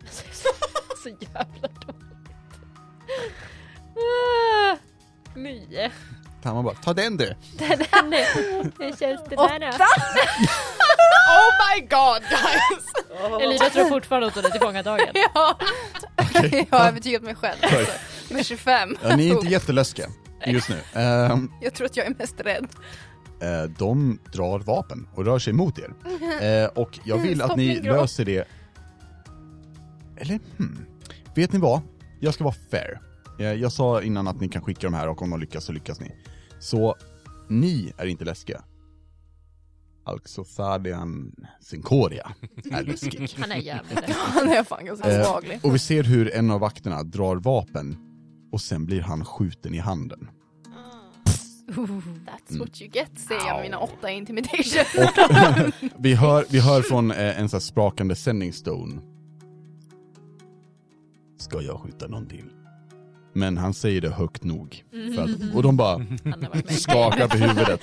Speaker 4: Alltså, jag är så- så jävla dåligt. Ah, Nio.
Speaker 1: Tamma bara, ta den du!
Speaker 4: Det där är... Hur känns det där då?
Speaker 6: Oh my god guys!
Speaker 4: Elida tror fortfarande att hon är tillfångatagen.
Speaker 6: ja. Jag har övertygat mig själv alltså. Med 25.
Speaker 1: Ja, ni är inte jätteläskiga just nu. Ehm,
Speaker 6: Jag tror att jag är mest rädd.
Speaker 1: eh, de drar vapen och rör sig mot er. Eh, och jag vill att
Speaker 6: Stopp
Speaker 1: ni
Speaker 6: min gråt.
Speaker 1: löser det... Eller hmm. Vet ni vad? Jag ska vara fair. Eh, jag sa innan att ni kan skicka de här och om de lyckas så lyckas ni. Så ni är inte läskiga. Alltså Thadian Sinkoria är läskig.
Speaker 4: Han är jävligt rädd.
Speaker 6: Han är fan ganska
Speaker 1: Eh,
Speaker 6: svaglig.
Speaker 1: Och vi ser hur en av vakterna drar vapen och sen blir han skjuten i handen.
Speaker 4: Mm.
Speaker 6: That's what you get säger jag med mina åtta intimidation.
Speaker 1: Vi hör, vi hör från eh, en sån här sprakande sending stone. Ska jag skjuta någon till? Men han säger det högt nog. För
Speaker 4: Mm.
Speaker 1: att, och de bara
Speaker 4: Han har varit med.
Speaker 1: skakar på huvudet.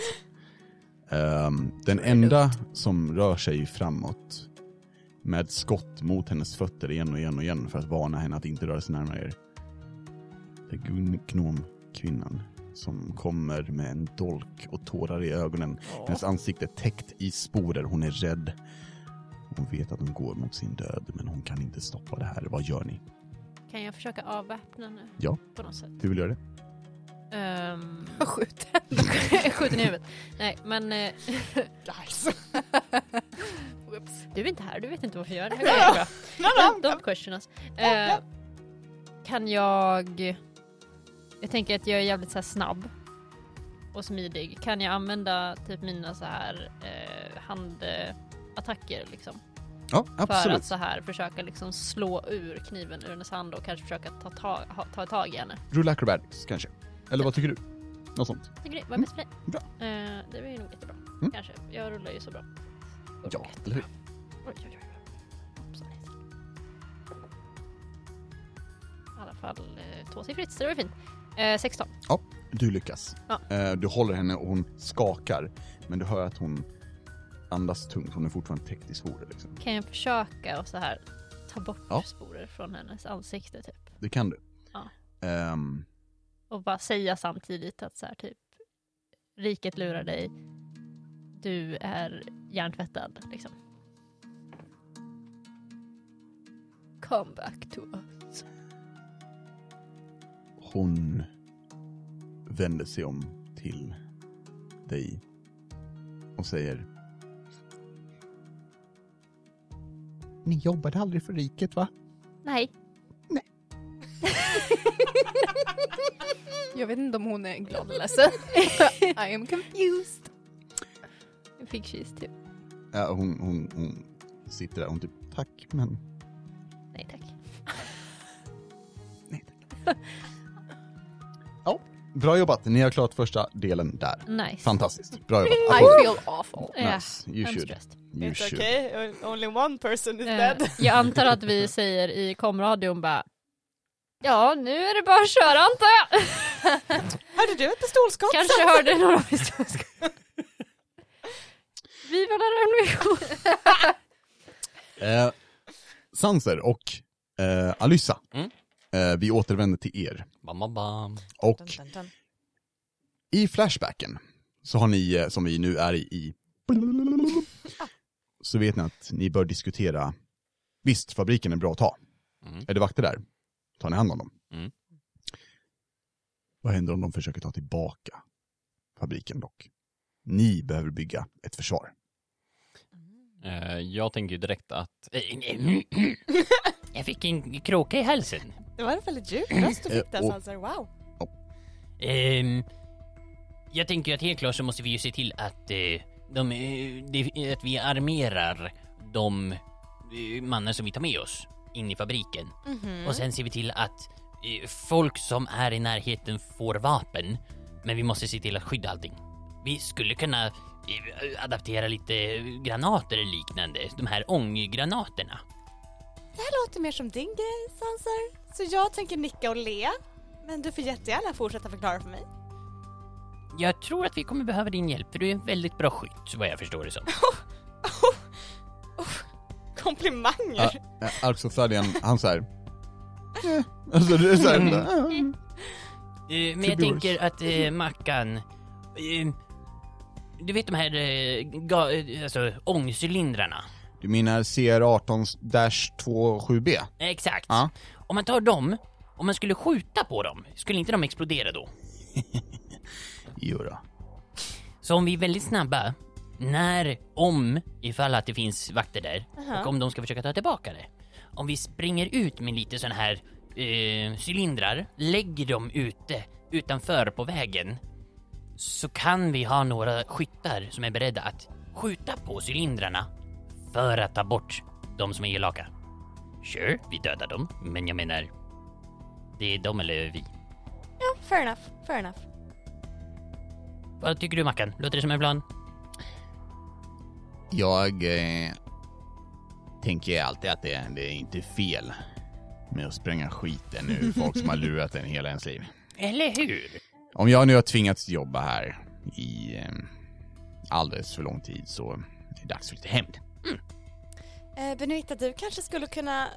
Speaker 1: Ehm, den enda som rör sig framåt med skott mot hennes fötter igen och igen och igen för att varna henne att inte röra sig närmare er. Det är Gun- gnomkvinnan som kommer med en dolk och tårar i ögonen. Hennes ansikte är täckt i sporer. Hon är rädd. Hon vet att hon går mot sin död men hon kan inte stoppa det här. Vad gör ni?
Speaker 4: Kan jag försöka avväpna nu?
Speaker 1: Ja.
Speaker 4: På något sätt.
Speaker 1: Du vill göra det?
Speaker 4: Um,
Speaker 6: Skjut
Speaker 4: skjuten i huvudet. Nej, men eh,
Speaker 6: Nice.
Speaker 4: du är inte här, du vet inte varför jag gör det. Okej, bra. Don't- Don't question us. Eh, kan jag... Jag tänker att jag är jävligt så här snabb och smidig. Kan jag använda typ mina så här eh, handattacker liksom?
Speaker 1: Ja,
Speaker 4: För att så här försöka liksom slå ur kniven ur hennes hand och kanske försöka ta, ta, ha, ta tag i henne.
Speaker 1: Rulla acrobatics kanske. Eller vad tycker du? Något sånt.
Speaker 4: Det är vad är bäst för dig?
Speaker 1: Mm. Bra.
Speaker 4: Eh, det var ju nog jättebra.
Speaker 1: Mm.
Speaker 4: Kanske. Jag rullar ju så bra.
Speaker 1: Ja, eller hur?
Speaker 4: Oj, oj, oj. Hoppsan, hejsan. I alla fall eh, tvåsiffrigt, så det var fint. Eh, 16.
Speaker 1: Du lyckas.
Speaker 4: Ja.
Speaker 1: Eh, Du håller henne och hon skakar. Men du hör att hon andas tungt. Hon är fortfarande täckt i sporer. Liksom.
Speaker 4: Kan jag försöka och så här ta bort
Speaker 1: Ja.
Speaker 4: sporer från hennes ansikte typ?
Speaker 1: Det kan du.
Speaker 4: Ja.
Speaker 1: Ehm,
Speaker 4: Och bara säga samtidigt att så här typ riket lurar dig. Du är hjärntvättad liksom.
Speaker 6: Come back to us.
Speaker 1: Hon vänder sig om till dig och säger Ni jobbade aldrig för riket va?
Speaker 4: Nej.
Speaker 6: Jag vet inte om hon är glad eller ledsen. I am confused.
Speaker 4: Jag fick kyss typ.
Speaker 1: Ja, hon, hon, hon sitter där och hon typ tack men
Speaker 4: Nej tack.
Speaker 1: nej tack. ja, bra jobbat. Ni har klart första delen där.
Speaker 4: Nice.
Speaker 1: Fantastiskt. Bra jobbat.
Speaker 6: I
Speaker 1: Applåder.
Speaker 6: feel awful.
Speaker 4: Ja,
Speaker 1: Nice. You
Speaker 4: Eh, I'm
Speaker 1: should.
Speaker 4: stressed.
Speaker 1: You
Speaker 3: It's
Speaker 1: should.
Speaker 3: okay, only one person is
Speaker 4: Eh,
Speaker 3: dead.
Speaker 4: Jag antar att vi säger i komradion bara Ja, nu är det bara att köra antar jag.
Speaker 3: Hörde du ett pistolskott?
Speaker 4: Kanske hörde någon av historiska. Vi var nära en mission.
Speaker 1: Eh, Sanser och eh, Alyssa.
Speaker 2: Mm.
Speaker 1: Eh, vi återvänder till er.
Speaker 2: Bam, bam, bam.
Speaker 1: Och
Speaker 3: Dun, dun, dun.
Speaker 1: I Flashbacken så har ni, eh, som vi nu är i, så vet ni att ni bör diskutera, visst fabriken är bra att ta.
Speaker 2: Mm.
Speaker 1: Är det vakter där, tar ni hand om dem.
Speaker 2: Mm.
Speaker 1: Vad händer om de försöker ta tillbaka fabriken dock? Ni behöver bygga ett försvar.
Speaker 5: Eh, jag tänker ju direkt att...
Speaker 2: Jag fick en kråka i halsen.
Speaker 3: Det var en väldigt djup röst du fick där,
Speaker 1: Eh, och-
Speaker 3: så han sa wow.
Speaker 2: Ehm, jag tänker att helt klart så måste vi ju se till att, eh, de, eh, det- att vi armerar de eh, mannar som vi tar med oss in i fabriken. Och sen ser vi till att eh, folk som är i närheten får vapen. Men vi måste se till att skydda allting. Vi skulle kunna eh, adaptera lite granater eller liknande. De här ånggranaterna.
Speaker 3: Det här låter mer som din grej, Sanser. Så jag tänker nicka och le. Men du får jättegärna fortsätta förklara för mig.
Speaker 2: Jag tror att vi kommer behöva din hjälp för du är en väldigt bra skytt vad jag förstår det som.
Speaker 3: Komplimanger!
Speaker 1: Eh, Arxothadian, han såhär, eh, alltså det är såhär,
Speaker 2: Mm.
Speaker 1: eh,
Speaker 2: Eh, men
Speaker 1: To
Speaker 2: jag
Speaker 1: be
Speaker 2: tänker att eh, Mackan... Eh, du vet de här eh, ga, eh, alltså, ångcylindrarna?
Speaker 7: Du menar CR18-27B?
Speaker 2: Eh, Exakt.
Speaker 7: Ja.
Speaker 2: Om man tar dem, om man skulle skjuta på dem, skulle inte de explodera då?
Speaker 7: Jo då.
Speaker 2: Så om vi är väldigt snabba, när, om, ifall att det finns vakter där, och om de ska försöka ta tillbaka det. Om vi springer ut med lite sån här eh, cylindrar, lägger dem ute, utanför på vägen, så kan vi ha några skyttar som är beredda att skjuta på cylindrarna för att ta bort de som är elaka. Sure, vi dödar dem, men jag menar, det är de eller vi.
Speaker 3: Ja, fair enough, fair enough.
Speaker 2: Vad tycker du Mackan? Låter det som en plan?
Speaker 7: Jag eh, tänker alltid att det, det är inte fel med att spränga skiten nu folk som har lurat en hela ens liv.
Speaker 2: Eller hur?
Speaker 7: Om jag nu har tvingats jobba här i eh, alldeles för lång tid så är det dags för lite hämnd.
Speaker 3: Eh, Benita, du kanske skulle kunna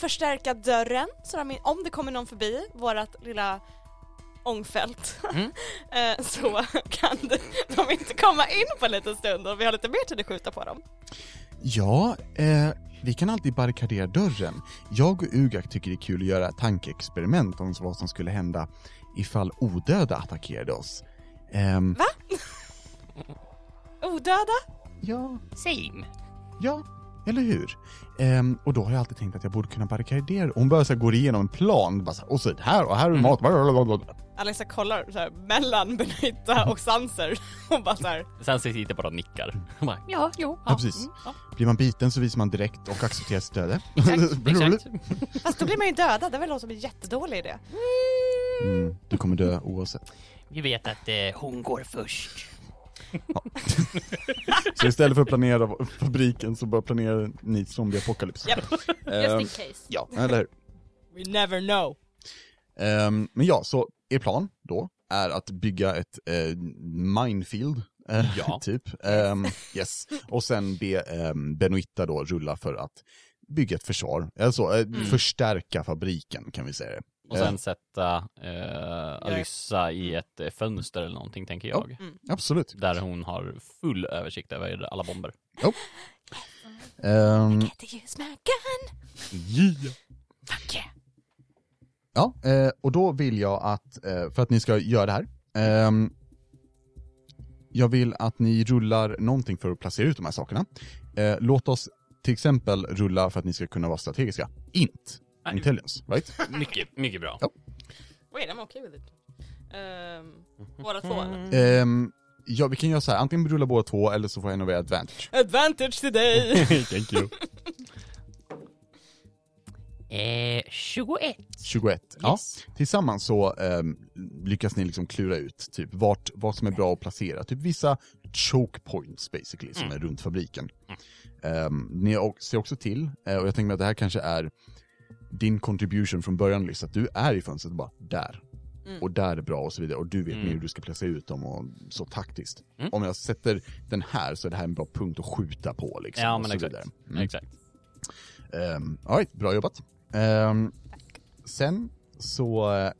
Speaker 3: förstärka dörren så de, om det kommer någon förbi vårt lilla ångfält
Speaker 2: Mm.
Speaker 3: eh, så kan de, de inte komma in på en liten stund och vi har lite mer tid att skjuta på dem.
Speaker 1: Ja, eh, vi kan alltid barrikadera dörren. Jag och Ugak tycker det är kul att göra tankeexperiment om vad som skulle hända ifall odöda attackerade oss. Ehm,
Speaker 3: Odöda?
Speaker 1: ja,
Speaker 2: Same.
Speaker 1: ja, eller hur? Ehm, och då har jag alltid tänkt att jag borde kunna barrikadera. Hon börjar så här, gå igenom en plan, bara så här, och så här och här är mat. blablabla."
Speaker 3: Alexa kollar så här, mellan Benita och Sanser och bara så här,
Speaker 5: Sen sitter bara och nickar. Hon bara,
Speaker 4: Ja, jo.
Speaker 1: Ja, precis. Blir man biten så visar man direkt och accepterar sitt öde.
Speaker 2: Exakt, exakt.
Speaker 3: fast då blir man ju dödad, det är väl någon som är jättedålig idé.
Speaker 1: Mm, du kommer dö oavsett.
Speaker 2: Vi vet att eh, hon går först.
Speaker 1: Så istället för att planera fabriken så bara planerar ni zombie-apokalyps.
Speaker 3: Japp.
Speaker 1: Ehm,
Speaker 4: Just in case.
Speaker 1: ja, eller hur?
Speaker 3: We never know.
Speaker 1: Ehm, men ja, så er plan då är att bygga ett eh, minefield, eh,
Speaker 5: Ja.
Speaker 1: typ. Ehm, yes. Och sen be um, Benoitta då rulla för att bygga ett försvar, eller så, eh, förstärka fabriken kan vi säga det.
Speaker 5: Mm.
Speaker 1: Ehm,
Speaker 5: och sen sätta eh, Alyssa
Speaker 1: Mm.
Speaker 5: i ett eh, fönster eller någonting, tänker jag.
Speaker 1: Absolut.
Speaker 5: Där hon har full översikt över alla bomber.
Speaker 1: Ehm,
Speaker 3: Get to use my gun. Fuck yeah.
Speaker 1: Ja, eh, och då vill jag att, eh, för att ni ska göra det här, ehm, jag vill att ni rullar någonting för att placera ut de här sakerna. Eh, låt oss till exempel rulla för att ni ska kunna vara strategiska. Int. Intelligence, right?
Speaker 5: Mycket, mycket bra.
Speaker 3: Wait, I'm okay with it. Um, båda två eller?
Speaker 5: Mm.
Speaker 1: Ehm, ja, vi kan göra så här, antingen rulla båda två eller så får en av er advantage.
Speaker 3: Advantage till dig!
Speaker 5: Thank you.
Speaker 2: Eh, 21.
Speaker 1: 21. Ja. Tillsammans så ehm, lyckas ni liksom klura ut typ vart, vad som är bra att placera. Typ vissa choke points basically som
Speaker 5: Mm.
Speaker 1: är runt fabriken. Ehm, ni o- ser också till, eh, och jag tänker mig att det här kanske är din contribution från början Liz, att du är i fönstret och bara där.
Speaker 5: Mm.
Speaker 1: Och där är bra och så vidare. Och du vet mer hur du ska placera ut dem och så taktiskt.
Speaker 5: Mm.
Speaker 1: Om jag sätter den här så är det här en bra punkt att skjuta på liksom.
Speaker 5: Ja,
Speaker 1: och
Speaker 5: men
Speaker 1: så
Speaker 5: exakt.
Speaker 1: vidare.
Speaker 5: Exakt.
Speaker 1: Um, all right, bra jobbat. Ehm, sen så eh,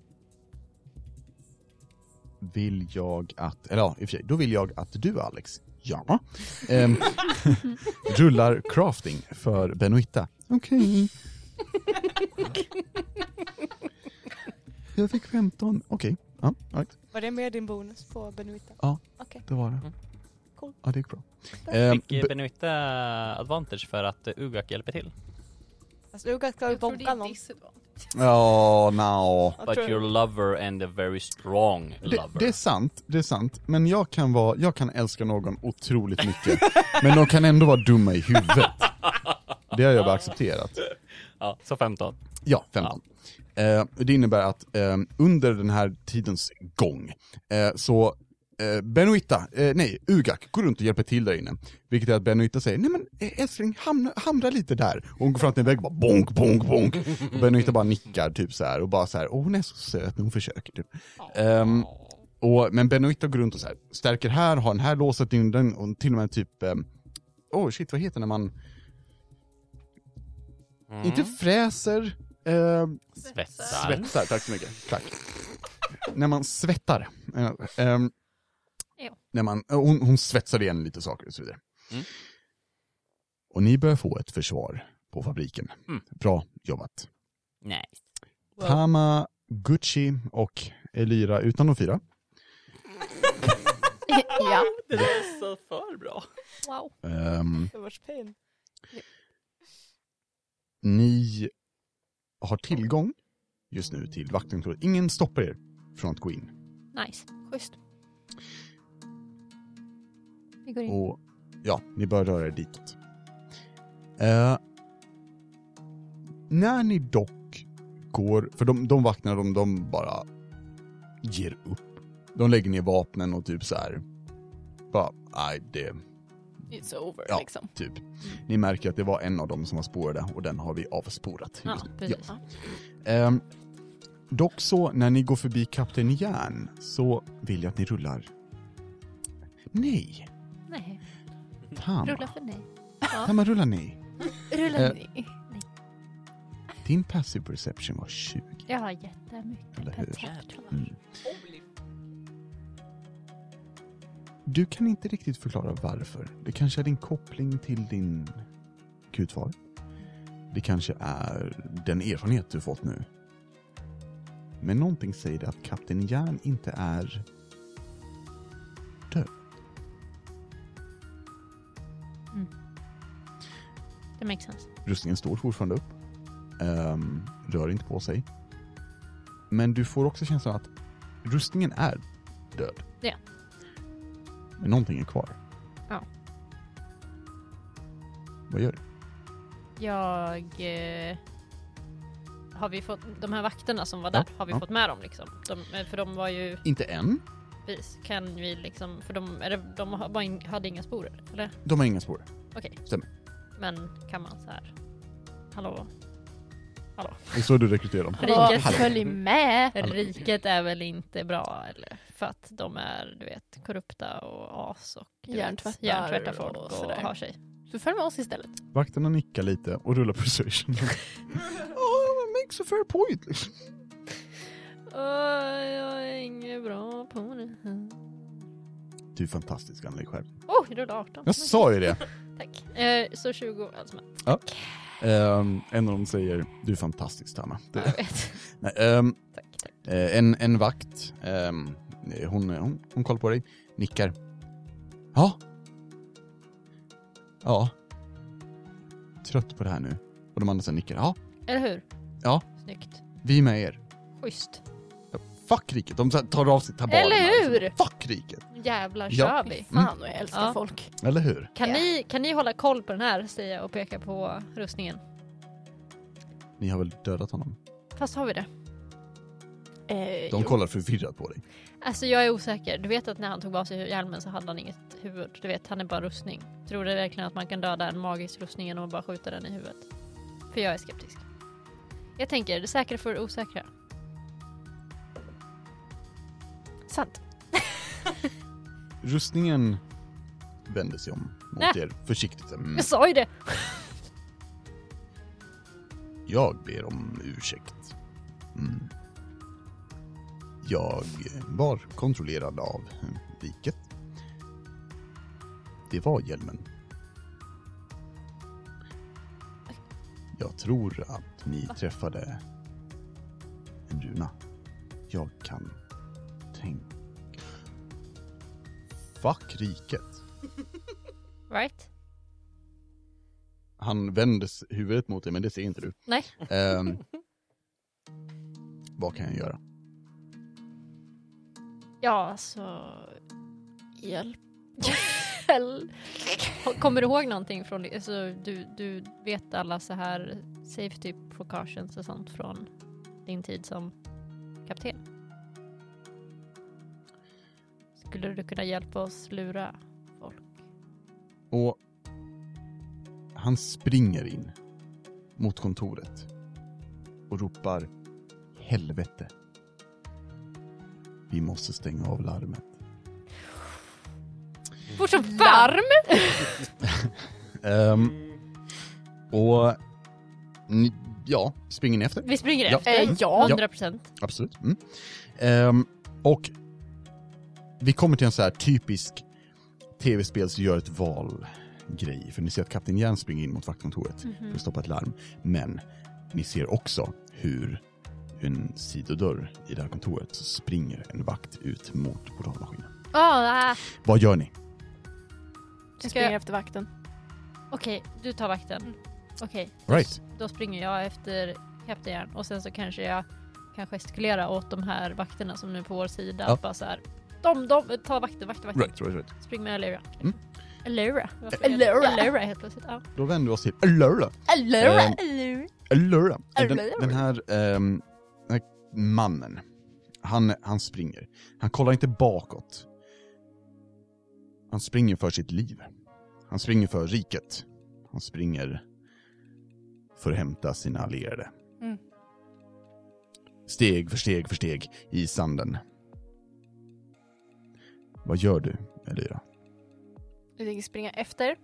Speaker 1: vill jag att, eller ja, i och för sig, då vill jag att du Alex, ja, ehm, rullar crafting för Benoitta. Okej. Jag fick 15, okej. Ja, all right.
Speaker 3: Var det med din bonus på Benuita?
Speaker 1: Det var det.
Speaker 3: Cool.
Speaker 1: Ja, det gick bra. Ehm,
Speaker 5: Fick eh,
Speaker 1: Be-
Speaker 5: Benuita advantage för att eh, Ugak hjälper till.
Speaker 3: Fast Uga ska Alltså, ju bonka någon.
Speaker 1: Ja, no.
Speaker 3: Jag
Speaker 5: But
Speaker 3: tror-
Speaker 5: your lover and a very strong
Speaker 1: Det,
Speaker 5: lover.
Speaker 1: det är sant, det är sant. Men jag kan, vara, jag kan älska någon otroligt mycket. men de kan ändå vara dumma i huvudet. Det har jag bara accepterat.
Speaker 5: Ja, så 15.
Speaker 1: Ja, 15. Eh, det innebär att eh, under den här tidens gång eh, så eh, Benoitta, eh, nej, Ugak går runt och hjälper till där inne. Vilket är att Benoitta säger, nej men eh, älskling, hamna, hamra lite där. Och hon går fram till en vägg och bara bonk, bonk, bonk. Och Benoitta bara nickar typ så här och bara så här, åh hon är så söt när hon försöker typ. Ehm, och, men Benoitta går runt och så här, stärker här, har den här låset in den och till och med typ, åh oh shit vad heter det när man Inte fräser, eh,
Speaker 5: Svetsar.
Speaker 1: Svetsar, tack så mycket. Tack. När man svettar. Eh, ehm,
Speaker 4: Ja.
Speaker 1: När man, hon, hon svetsade igen lite saker och så vidare.
Speaker 5: Mm.
Speaker 1: Och ni börjar få ett försvar på fabriken.
Speaker 5: Mm.
Speaker 1: Bra jobbat.
Speaker 2: Nej.
Speaker 1: Tama, Gucci och Elira utan de fyra.
Speaker 4: ja.
Speaker 5: Det är så för bra.
Speaker 4: Wow.
Speaker 1: Ehm,
Speaker 3: Det vars pain.
Speaker 1: ni har tillgång just nu till vaktkontoret. Ingen stoppar er från att gå in.
Speaker 4: Nice. Schysst. Vi går in.
Speaker 1: Och ja, ni bör röra er ditåt. Eh, när ni dock går, för de, de vaknar, de, de bara ger upp. De lägger ner vapnen och typ så här. Bara, nej det,
Speaker 6: It's over
Speaker 1: Ja.
Speaker 6: liksom.
Speaker 1: typ.
Speaker 4: Mm.
Speaker 1: Ni märker att det var en av dem som var spårade och den har vi avspårat.
Speaker 4: Ja,
Speaker 1: just nu.
Speaker 4: precis.
Speaker 1: Ehm, dock så, när ni går förbi Kapten Järn så vill jag att ni rullar. Nej,
Speaker 4: Nej.
Speaker 1: Tama.
Speaker 4: Mm. Rulla för nej.
Speaker 1: Tama rullar nej.
Speaker 6: Rulla
Speaker 1: Eh.
Speaker 6: ni.
Speaker 1: Din passive perception var 20,
Speaker 4: Jag har jättemycket.
Speaker 1: eller hur?
Speaker 4: Jävlar.
Speaker 1: Mm. Du kan inte riktigt förklara varför. Det kanske är din koppling till din gudfar. Det kanske är den erfarenhet du fått nu. Men någonting säger dig att Kapten Järn inte är död.
Speaker 4: Det makes sense.
Speaker 1: Rustningen står fortfarande upp. Ehm, rör inte på sig. Men du får också känslan att rustningen är död.
Speaker 4: Ja.
Speaker 1: Men någonting är kvar.
Speaker 4: Ja.
Speaker 1: Vad gör du?
Speaker 4: Jag... Eh, har vi fått... De här vakterna som var där, har vi
Speaker 1: ja.
Speaker 4: fått med dem liksom? De, eh, för de var ju...
Speaker 1: Inte än.
Speaker 4: Precis. Kan vi liksom... För de, är det, de har- var in, hade inga sporer, eller?
Speaker 1: De har inga spår.
Speaker 4: Okej.
Speaker 1: Stämmer.
Speaker 4: Men kan man så här... Hallå?
Speaker 1: Det är så du rekryterar dem.
Speaker 4: Riket
Speaker 1: Hallå.
Speaker 4: följ med!
Speaker 1: Hallå.
Speaker 4: Riket är väl inte bra eller? För att de är du vet korrupta och as och du vet,
Speaker 6: Hjärntvättar
Speaker 4: hjärntvättar
Speaker 6: och
Speaker 4: folk och,
Speaker 6: sådär.
Speaker 4: har sig.
Speaker 6: Så följ med oss istället.
Speaker 1: Vakterna nickar lite och rullar persuasion. oh, makes a fair point. liksom.
Speaker 4: Oj, jag är inget bra på det här.
Speaker 1: Du är fantastisk, Anneli själv.
Speaker 4: Oh, jag rullade 18.
Speaker 1: Jag sa ju det.
Speaker 4: Tack. Eh, så 20, alltså, men,
Speaker 1: Ehm, en av dem säger, du är fantastisk, Tama. Det-
Speaker 4: jag vet.
Speaker 1: Nej, ehm,
Speaker 4: tack, tack.
Speaker 1: Eh, en, en vakt, ehm, eh, hon, hon, hon kollar på dig, nickar. Ja. Ja. Trött på det här nu. Och de andra sen nickar. Ja,
Speaker 4: Eller hur?
Speaker 1: Ja.
Speaker 4: Snyggt.
Speaker 1: vi är med er.
Speaker 4: Schysst.
Speaker 1: Fuck riket. De så här tar av sig tabarerna.
Speaker 4: Eller hur?
Speaker 1: Liksom. Fuck riket.
Speaker 4: Jävlar
Speaker 1: Ja.
Speaker 4: kör vi.
Speaker 6: Mm. Fan vad jag älskar
Speaker 4: Ja.
Speaker 6: folk.
Speaker 1: Eller hur?
Speaker 4: Kan,
Speaker 6: Ja.
Speaker 4: ni, kan ni hålla koll på den här säger jag och peka på rustningen?
Speaker 1: Ni har väl dödat honom?
Speaker 4: Fast har vi det?
Speaker 6: Eh,
Speaker 1: De
Speaker 6: jo.
Speaker 1: kollar förvirrat på dig.
Speaker 4: Alltså jag är osäker. Du vet att när han tog av sig hjälmen så hade han inget huvud. Du vet, han är bara rustning. Tror du verkligen att man kan döda en magisk rustning genom att bara skjuta den i huvudet? För jag är skeptisk. Jag tänker, det säkra för det osäkra.
Speaker 6: Sant.
Speaker 1: Mm. Rustningen vänder sig om mot
Speaker 4: Nej.
Speaker 1: er försiktigt. Mm.
Speaker 4: Jag sa ju det!
Speaker 1: Jag ber om ursäkt. Mm. Jag var kontrollerad av riket. Det var hjälmen. Jag tror att ni träffade en runa. Jag kan tänka... Fuck riket.
Speaker 4: Right?
Speaker 1: Han vänder s- huvudet mot dig, men det ser inte du.
Speaker 4: Nej.
Speaker 1: Ehm, vad kan jag göra?
Speaker 4: Ja, alltså...
Speaker 6: Hjälp.
Speaker 4: Hell. Kommer du ihåg någonting från... Alltså, du, du vet alla så här safety precautions och sånt från din tid som kapten? Skulle du kunna hjälpa oss lura folk?
Speaker 1: Och han springer in mot kontoret och ropar helvete. Vi måste stänga av larmet.
Speaker 6: Mm.
Speaker 4: Fort som varm!
Speaker 1: Ehm, och ni, ja, springer ni efter?
Speaker 4: Vi springer
Speaker 1: Ja.
Speaker 4: efter.
Speaker 6: Eh, ja.
Speaker 4: 100 procent.
Speaker 1: Absolut. Mm. Ehm, och vi kommer till en så här typisk tv-spel som gör ett valgrej. För ni ser att Kapten Järn springer in mot vaktkontoret för att stoppa ett larm. Men ni ser också hur en sidodörr i det här kontoret så springer en vakt ut mot portalmaskinen.
Speaker 4: Ah, ah.
Speaker 1: Vad gör ni?
Speaker 6: Jag
Speaker 4: Ska
Speaker 6: springer
Speaker 4: jag...
Speaker 6: efter vakten.
Speaker 4: Okej, du tar vakten. Okej,
Speaker 1: Right.
Speaker 4: då springer jag efter Kapten Järn och sen så kanske jag kan gestikulera åt de här vakterna som nu är på vår sida.
Speaker 1: Ja.
Speaker 4: Bara så här, de, de, ta vakten, vakten, vakten.
Speaker 1: Right, right, right.
Speaker 4: Spring med Alera.
Speaker 1: Mm.
Speaker 4: Alera? Varför heter-
Speaker 6: Alera.
Speaker 4: Alera helt plötsligt. Ja.
Speaker 1: Då vänder vi oss till Allura.
Speaker 6: Allura,
Speaker 1: Ehm,
Speaker 6: allura.
Speaker 1: Allura. Den,
Speaker 6: Allura.
Speaker 1: den, här, ehm, den här mannen, han, han springer. Han kollar inte bakåt. Han springer för sitt liv. Han springer för riket. Han springer för att hämta sina allierade.
Speaker 6: Mm.
Speaker 1: Steg för steg för steg i sanden. Vad gör du, Elira?
Speaker 6: Jag tänker springa efter.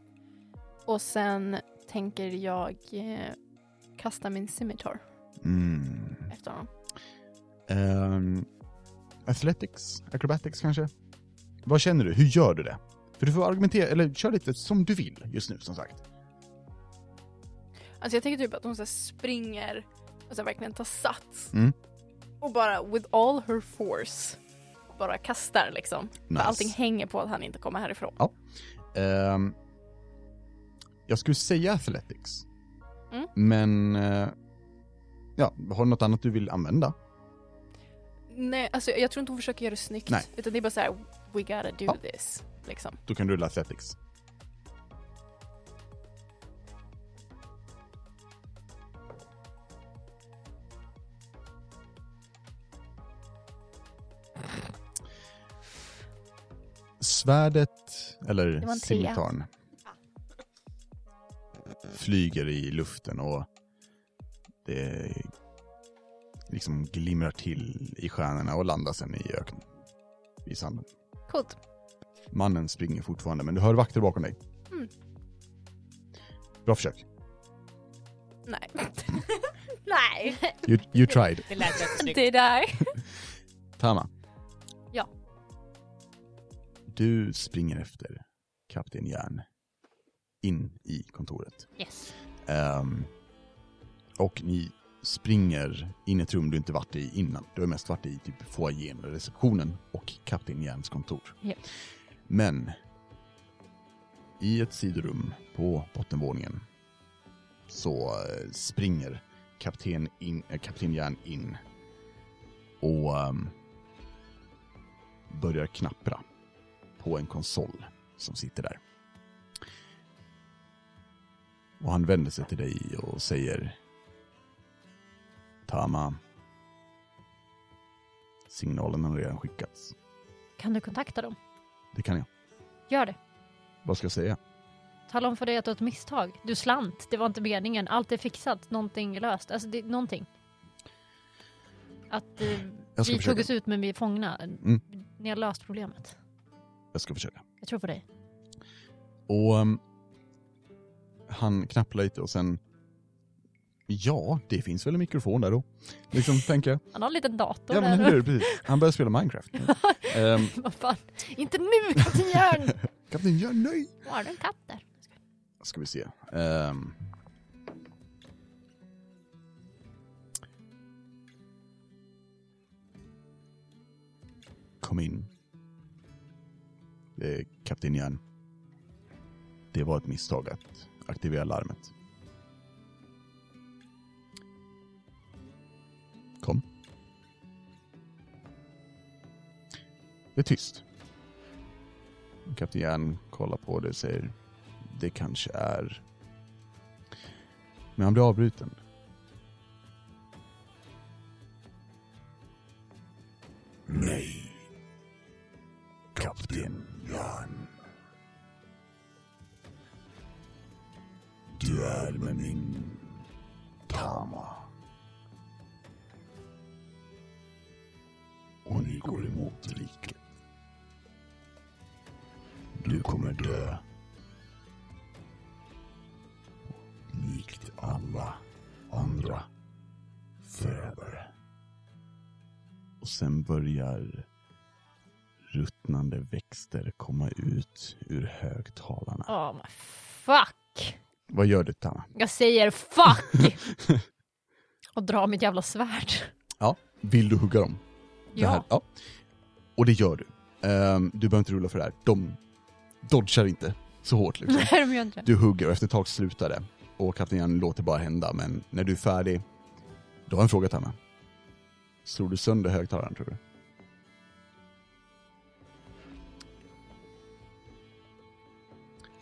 Speaker 6: Och sen tänker jag eh, kasta min scimitar
Speaker 1: Mm.
Speaker 6: efter honom.
Speaker 1: Ehm, athletics? Acrobatics kanske? Vad känner du? Hur gör du det? För du får argumentera, eller kör lite som du vill just nu som sagt.
Speaker 6: Alltså jag tänker typ att hon så här springer och så här verkligen tar sats.
Speaker 1: Mm.
Speaker 6: Och bara with all her force bara kastar liksom.
Speaker 1: Nice.
Speaker 6: För allting hänger på att han inte kommer härifrån.
Speaker 1: Ehm, jag skulle säga athletics.
Speaker 6: Mm.
Speaker 1: Men, eh, ja, har du något annat du vill använda?
Speaker 6: Nej, alltså jag tror inte hon försöker göra det snyggt.
Speaker 1: Nej.
Speaker 6: Utan det är bara så här, we gotta do
Speaker 1: Ja.
Speaker 6: this. Liksom.
Speaker 1: Då kan du rulla athletics. Svärdet,
Speaker 6: Det
Speaker 1: eller
Speaker 6: var en trea.
Speaker 1: scimitarn, flyger i luften och det liksom glimrar till i stjärnorna och landar sen i öknen, i sanden.
Speaker 4: Coolt.
Speaker 1: Mannen springer fortfarande, men du hör vakter bakom dig.
Speaker 6: Mm.
Speaker 1: Bra försök.
Speaker 6: Nej.
Speaker 4: Nej!
Speaker 1: You, you tried.
Speaker 2: Det lät jättesnyggt.
Speaker 4: Det där.
Speaker 1: Tama.
Speaker 4: Ja.
Speaker 1: Du springer efter Kapten Järn in i kontoret.
Speaker 4: Yes.
Speaker 1: Ehm, och ni springer in i ett rum du inte varit i innan. Du har mest varit i typ foajén, receptionen och Kapten Järns kontor.
Speaker 4: Ja.
Speaker 1: Men i ett sidorum på bottenvåningen så eh, springer Kapten, in, eh, Kapten Järn in och ehm, börjar knappra på en konsol som sitter där. Och han vänder sig till dig och säger Tama. Signalen har redan skickats.
Speaker 4: Kan du kontakta dem?
Speaker 1: Det kan jag.
Speaker 4: Gör det.
Speaker 1: Vad ska jag säga?
Speaker 4: Tala om för dig att det var ett misstag. Du slant. Det var inte meningen. Allt är fixat. Någonting är löst. Alltså, det, någonting. Att eh,
Speaker 1: Jag ska
Speaker 4: vi
Speaker 1: försöka.
Speaker 4: tog oss ut men vi är fångna.
Speaker 1: Mm.
Speaker 4: Ni har löst problemet.
Speaker 1: Jag ska försöka.
Speaker 4: Jag tror på dig.
Speaker 1: Och ehm, han knappar lite och sen Ja, det finns väl en mikrofon där då. Liksom, tänker jag.
Speaker 4: Han har en liten dator
Speaker 1: Ja, men
Speaker 4: där.
Speaker 1: eller hur? Precis. Han börjar spela Minecraft. um,
Speaker 4: Vad fan. Inte nu Kapten Järn!
Speaker 1: Kapten, gör nöjd!
Speaker 4: Har du en katt där?
Speaker 1: ska vi se. Ehm. Kom in. Det är kapten Jan. Det var ett misstag att aktivera larmet. Kom. Det är tyst. Kapten Jan kollar på det och säger det kanske är. Men han blir avbruten. Nej. Kapten Jan. Du är med min Tama. Och ni går emot riket. Du kommer dö. likt alla andra förrädare. Och sen börjar ruttnande växter komma ut ur högtalarna.
Speaker 4: Oh my fuck.
Speaker 1: Vad gör du Tanna?
Speaker 4: Jag säger fuck! och drar mitt jävla svärd.
Speaker 1: Vill du hugga dem? Det här-
Speaker 4: Ja.
Speaker 1: ja. Och det gör du. Ehm, du behöver inte rulla för det här. De dodgar inte så hårt liksom.
Speaker 4: Nej, de gör inte det.
Speaker 1: Du hugger och efter ett tag slutar det. Och kaptenen låter bara hända, men när du är färdig, du har en fråga Tanna. Slår du sönder högtalaren tror du?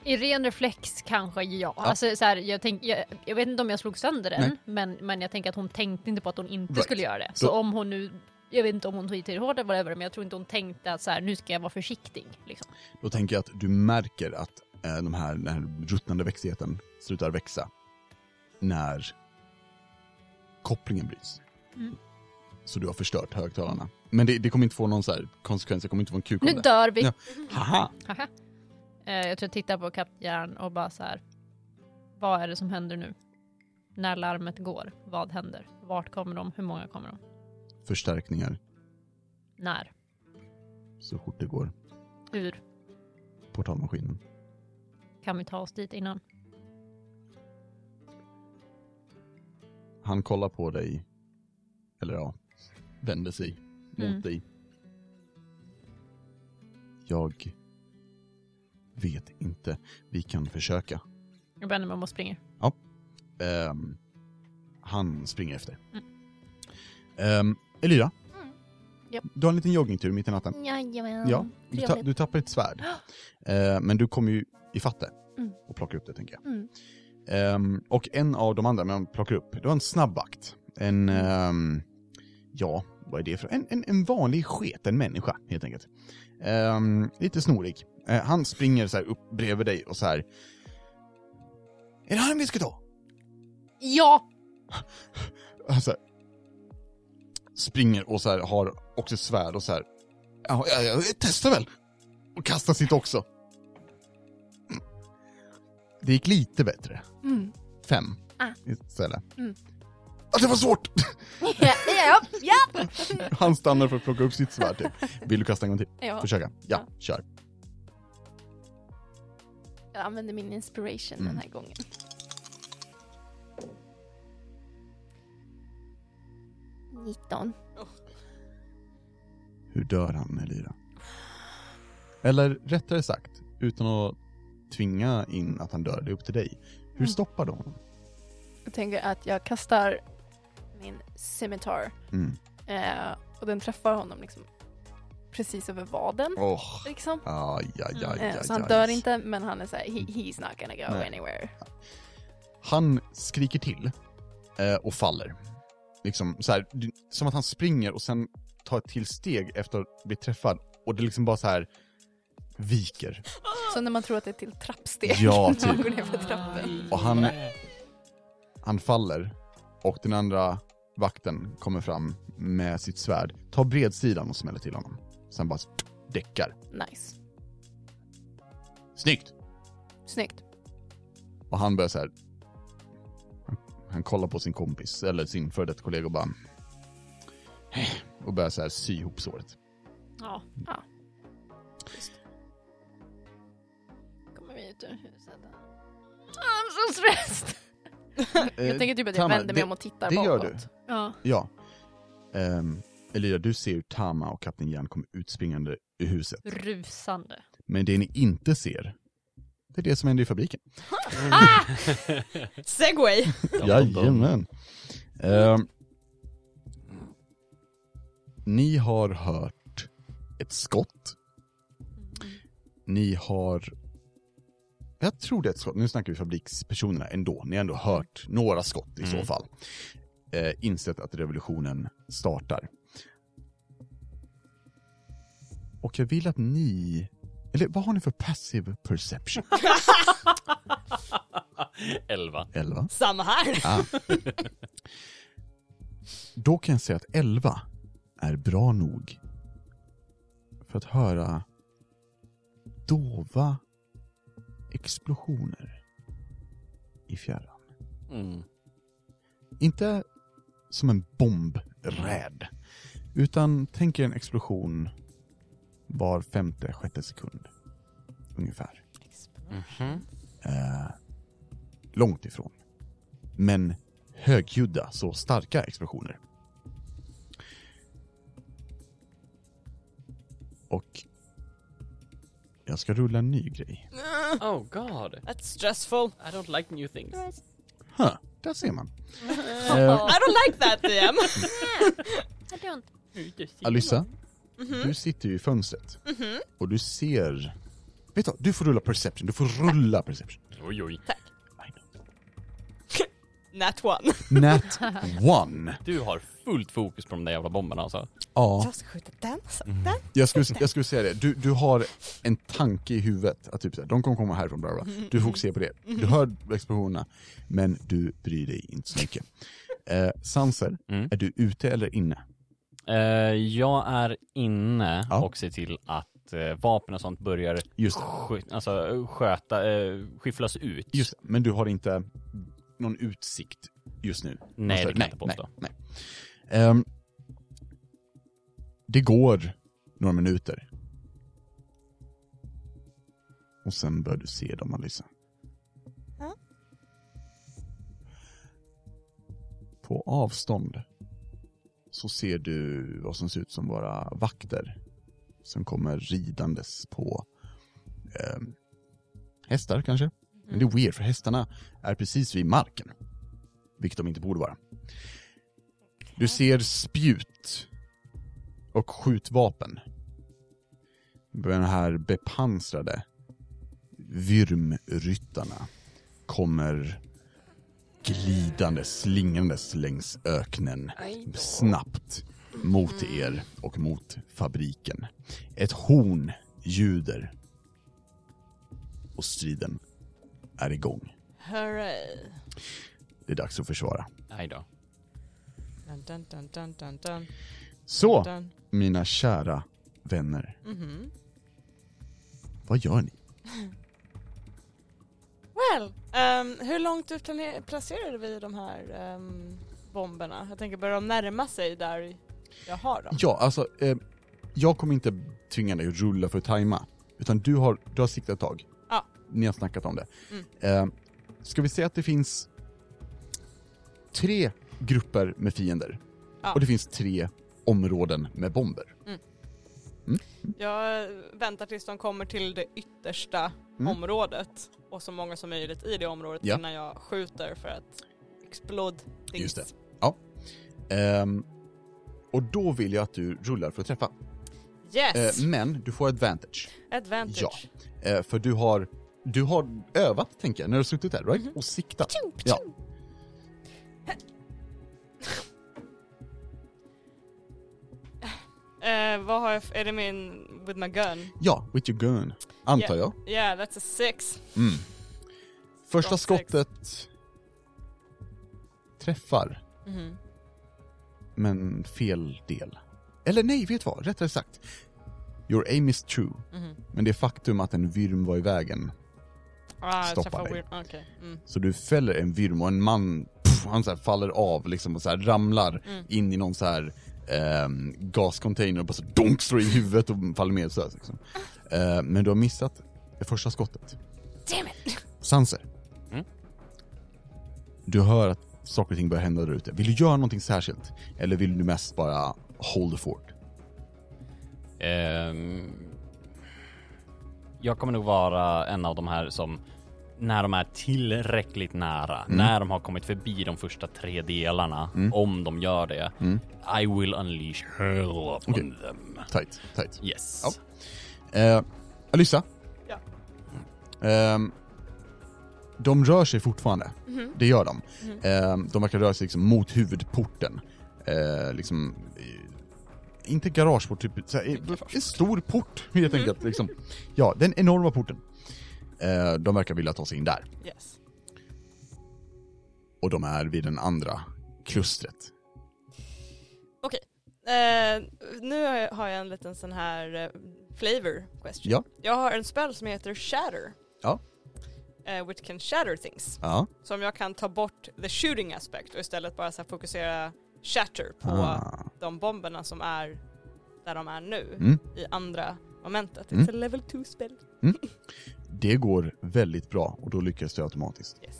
Speaker 4: I ren reflex kanske ja.
Speaker 1: Ja.
Speaker 4: Alltså, så här, jag, tänk, jag, jag vet inte om jag slog sönder
Speaker 1: Nej.
Speaker 4: den, men, men jag tänker att hon tänkte inte på att hon inte
Speaker 1: Right.
Speaker 4: skulle göra det. Så
Speaker 1: Då-
Speaker 4: om hon nu, jag vet inte om hon tog i till hårt eller whatever, men jag tror inte hon tänkte att så här, nu ska jag vara försiktig. Liksom.
Speaker 1: Då tänker jag att du märker att eh, de här, den här ruttnande växtigheten slutar växa när kopplingen bryts.
Speaker 4: Mm.
Speaker 1: Så du har förstört högtalarna. Men det, det kommer inte få någon så här konsekvens, det kommer inte få en kuk
Speaker 4: Nu
Speaker 1: om det.
Speaker 4: dör vi!
Speaker 1: Ja. Haha!
Speaker 4: Haha. Eh, jag tror jag tittar på Kaptjärn och bara så här. Vad är det som händer nu? När larmet går, vad händer? Vart kommer de? Hur många kommer de?
Speaker 1: Förstärkningar
Speaker 4: När?
Speaker 1: så fort det går.
Speaker 4: Hur?
Speaker 1: Portalmaskinen.
Speaker 4: Kan vi ta oss dit innan?
Speaker 1: Han kollar på dig, eller ja, vänder sig mot
Speaker 4: Mm.
Speaker 1: dig. Jag vet inte. Vi kan försöka.
Speaker 4: Jag vänder mig om och springer.
Speaker 1: Ehm, han springer efter.
Speaker 4: Mm.
Speaker 1: Ehm, Elira,
Speaker 6: Mm. Japp.
Speaker 1: du har en liten joggingtur mitt i natten.
Speaker 6: Jajamän.
Speaker 1: Ja, du, ta,
Speaker 6: trevligt.
Speaker 1: du tappar ett svärd. Ehm, men du kommer ju ifatt det
Speaker 6: Mm.
Speaker 1: och plockar upp det tänker jag.
Speaker 6: Mm.
Speaker 1: Ehm, och en av de andra man plockar upp, det var en snabbvakt. En,
Speaker 6: Mm.
Speaker 1: ehm, ja, vad är det för, en, en, en vanlig sketen människa helt enkelt. Ehm, lite snorig. Eh, han springer så här upp bredvid dig och så här. Är det han vi ska ta?
Speaker 4: Ja!
Speaker 1: han så här, Alltså, springer och så här, har också ett svärd och så här. Ja, ja, ja, testa väl! Och kastar sitt också. Det gick lite bättre.
Speaker 6: Mm.
Speaker 1: Fem
Speaker 6: Ah.
Speaker 1: istället.
Speaker 6: Mm.
Speaker 1: Ah, det var svårt!
Speaker 6: Ja, ja, ja.
Speaker 1: Han stannar för att plocka upp sitt svärd typ. Vill du kasta en gång till?
Speaker 6: ja.
Speaker 1: Försöka? Ja, kör.
Speaker 6: Jag använder min inspiration
Speaker 1: Mm.
Speaker 6: den här gången. Nitton.
Speaker 1: Hur dör han, Elira? Eller rättare sagt, utan att tvinga in att han dör, det är upp till dig.
Speaker 6: Mm.
Speaker 1: Hur stoppar du honom?
Speaker 6: Jag tänker att jag kastar min scimitar
Speaker 1: Mm.
Speaker 6: eh, och den träffar honom liksom precis över vaden.
Speaker 1: Oh.
Speaker 6: Liksom.
Speaker 1: Aj, aj, aj, aj,
Speaker 6: Eh, så han
Speaker 1: aj. Mm.
Speaker 6: dör inte men han är såhär, he, he's not gonna go
Speaker 1: Nej.
Speaker 6: anywhere.
Speaker 1: Han skriker till eh, och faller. Liksom så här, det- som att han springer och sen tar ett till steg efter att bli träffad och det liksom bara så här viker.
Speaker 6: Så när man tror att det är till trappsteg.
Speaker 1: Ja,
Speaker 6: när man
Speaker 1: typ.
Speaker 6: går ner för trappen.
Speaker 1: Och han, han faller och den andra vakten kommer fram med sitt svärd, tar bredsidan och smäller till honom. Sen bara däckar.
Speaker 6: Nice.
Speaker 1: Snyggt!
Speaker 6: Snyggt.
Speaker 1: Och han börjar så här. Han kollar på sin kompis, eller sin före detta kollega och bara... Och börjar så här sy ihop såret.
Speaker 4: Ja.
Speaker 6: Kommer vi ut ur huset.
Speaker 4: Ah,
Speaker 6: I'm so stressed.
Speaker 1: Eh,
Speaker 6: Jag tänker typ att jag
Speaker 1: Tama,
Speaker 6: vänder
Speaker 1: det-
Speaker 6: mig om och tittar
Speaker 1: det gör
Speaker 6: bakåt.
Speaker 1: du.
Speaker 4: Ja.
Speaker 1: Ja. Ehm, Elira, du ser hur Tama och Kapten Järn kommer utspringande i huset.
Speaker 4: Rusande.
Speaker 1: Men det ni inte ser, det är det som händer i fabriken.
Speaker 3: Segway!
Speaker 1: Jajamän. Ehm, ni har hört ett skott. Ni har... Jag tror det är ett skott. Nu snackar vi fabrikspersonerna ändå. Ni har ändå hört några skott i så
Speaker 2: Mm.
Speaker 1: fall. Eh, insett att revolutionen startar. Och jag vill att ni... Eller vad har ni för passive perception?
Speaker 2: Elva.
Speaker 1: 11?
Speaker 3: Samma här!
Speaker 1: Då kan jag säga att 11 är bra nog för att höra dova explosioner i fjärran.
Speaker 2: Mm.
Speaker 1: Inte som en bombräd, utan tänk er en explosion var femte, sjätte sekund. Ungefär.
Speaker 8: Mhm.
Speaker 1: Eh, långt ifrån. Men högljudda, så starka explosioner. Och jag ska rulla en ny grej.
Speaker 5: Oh god.
Speaker 3: That's stressful.
Speaker 5: I don't like new things.
Speaker 1: Huh, där ser man.
Speaker 3: I don't like that DM.
Speaker 1: Alyssa, du sitter ju i fönstret och du ser... Vet du vad? du får rulla perception, du får rulla perception.
Speaker 5: Oj, oj.
Speaker 3: Nat one.
Speaker 1: Nat one.
Speaker 5: Du har fullt fokus på de där jävla bomberna alltså.
Speaker 1: Ja,
Speaker 3: Jag ska skjuta den. så den.
Speaker 1: jag skulle, jag skulle säga det. Du, du har en tanke i huvudet att typ så här, de kommer komma härifrån, bla bla. bla. Du fokuserar på det. Du hör explosionerna, men du bryr dig inte så mycket. Eh, Sanser,
Speaker 5: Mm.
Speaker 1: är du ute eller inne?
Speaker 5: Eh, jag är inne
Speaker 1: Ja.
Speaker 5: och ser till att eh, vapen och sånt börjar
Speaker 1: Just det.
Speaker 5: skj- alltså, sköta, eh, skyfflas ut.
Speaker 1: Just det. Men du har inte någon utsikt just nu?
Speaker 5: Nej, det kan jag inte
Speaker 1: nej,
Speaker 5: påstå.
Speaker 1: nej. Ehm, det går några minuter. Och sen börjar du se dem, Alissa.
Speaker 3: Ja.
Speaker 1: På avstånd så ser du vad som ser ut som våra vakter som kommer ridandes på ehm, hästar kanske. Men det är weird för hästarna är precis vid marken. Vilket de inte borde vara. Du ser spjut och skjutvapen. De här bepansrade vyrmryttarna kommer glidande, slingrandes längs öknen snabbt mot er och mot fabriken. Ett horn ljuder och striden är igång.
Speaker 3: Hurray.
Speaker 1: Det är dags att försvara.
Speaker 5: Nej då.
Speaker 3: Dun, dun, dun, dun, dun, dun,
Speaker 1: Så,
Speaker 3: dun.
Speaker 1: mina kära vänner,
Speaker 3: Mhm.
Speaker 1: vad gör ni?
Speaker 3: Well, ehm, hur långt ut plane- placerade vi de här ehm, bomberna? Jag tänker, börjar de närma sig där jag har dem?
Speaker 1: Ja, alltså, eh, jag kommer inte tvinga dig att rulla för att tajma. Utan du har, du har siktat ett tag.
Speaker 3: Ja.
Speaker 1: Ni har snackat om det.
Speaker 3: Mm.
Speaker 1: Eh, ska vi säga att det finns tre grupper med fiender.
Speaker 3: Ja.
Speaker 1: Och det finns tre områden med bomber.
Speaker 3: Jag väntar tills de kommer till det yttersta
Speaker 1: Mm.
Speaker 3: området och så många som möjligt i det området
Speaker 1: Ja.
Speaker 3: innan jag skjuter för att explode things.
Speaker 1: Just det. Ehm, och då vill jag att du rullar för att träffa.
Speaker 3: Yes!
Speaker 1: Eh, men du får advantage.
Speaker 3: Advantage.
Speaker 1: ja. Eh, för du har, du har övat, tänker jag, när du har suttit där, right?
Speaker 3: Mhm.
Speaker 1: Och siktat. Ja.
Speaker 3: Eh, vad har jag f- är det min, with my gun?
Speaker 1: Ja, with your gun, antar jag.
Speaker 3: Yeah, that's a six.
Speaker 1: Mm. Första
Speaker 3: Från sex.
Speaker 1: skottet träffar,
Speaker 3: Mhm.
Speaker 1: men fel del. Eller nej, vet du vad? Rättare sagt. Your aim is true,
Speaker 3: Mhm.
Speaker 1: men det faktum att en virm var i vägen,
Speaker 3: Ah, jag
Speaker 1: Stoppa
Speaker 3: träffar
Speaker 1: dig.
Speaker 3: weird- Okej. Mm.
Speaker 1: så du fäller en virm och en man, pff, han så här faller av liksom och så här ramlar
Speaker 3: Mm.
Speaker 1: in i någon så här ehm, gascontainer och bara så donk slår i huvudet och faller med så här, liksom. Eh, Men du har missat det första skottet.
Speaker 3: Damn it!
Speaker 1: Sanser.
Speaker 5: Mm.
Speaker 1: Du hör att saker och ting börjar hända där ute. Vill du göra någonting särskilt? Eller vill du mest bara hold the fort?
Speaker 5: Ehm, jag kommer nog vara en av de här som när de är tillräckligt nära,
Speaker 1: Mm.
Speaker 5: när de har kommit förbi de första tre delarna, om de gör det, I will unleash hell upon
Speaker 1: Mm. Okej.
Speaker 5: them.
Speaker 1: Tight, tight.
Speaker 5: Yes.
Speaker 1: Ja. Eh, Alyssa?
Speaker 3: Ja.
Speaker 1: Ehm, de rör sig fortfarande. Det gör de. Ehm, de verkar röra sig liksom mot huvudporten. Eh, liksom... eh, Inte garageport, typ så här, eh, en stor port helt enkelt. Liksom. Ja, den enorma porten. Eh, de verkar vilja ta sig in där.
Speaker 3: Yes.
Speaker 1: och de är vid den andra klustret.
Speaker 3: Eh, nu har jag, har jag en liten sån här eh, flavor question.
Speaker 1: Ja.
Speaker 3: Jag har en spell som heter shatter.
Speaker 1: Ja.
Speaker 3: Eh, which can shatter things.
Speaker 1: Ja.
Speaker 3: Så om jag kan ta bort the shooting aspect och istället bara så här fokusera shatter på
Speaker 1: Ah.
Speaker 3: de bomberna som är där de är nu
Speaker 1: Mm.
Speaker 3: i andra momentet.
Speaker 1: Mm.
Speaker 3: It's a level 2 spell.
Speaker 1: Det går väldigt bra och då lyckas du automatiskt.
Speaker 3: Yes.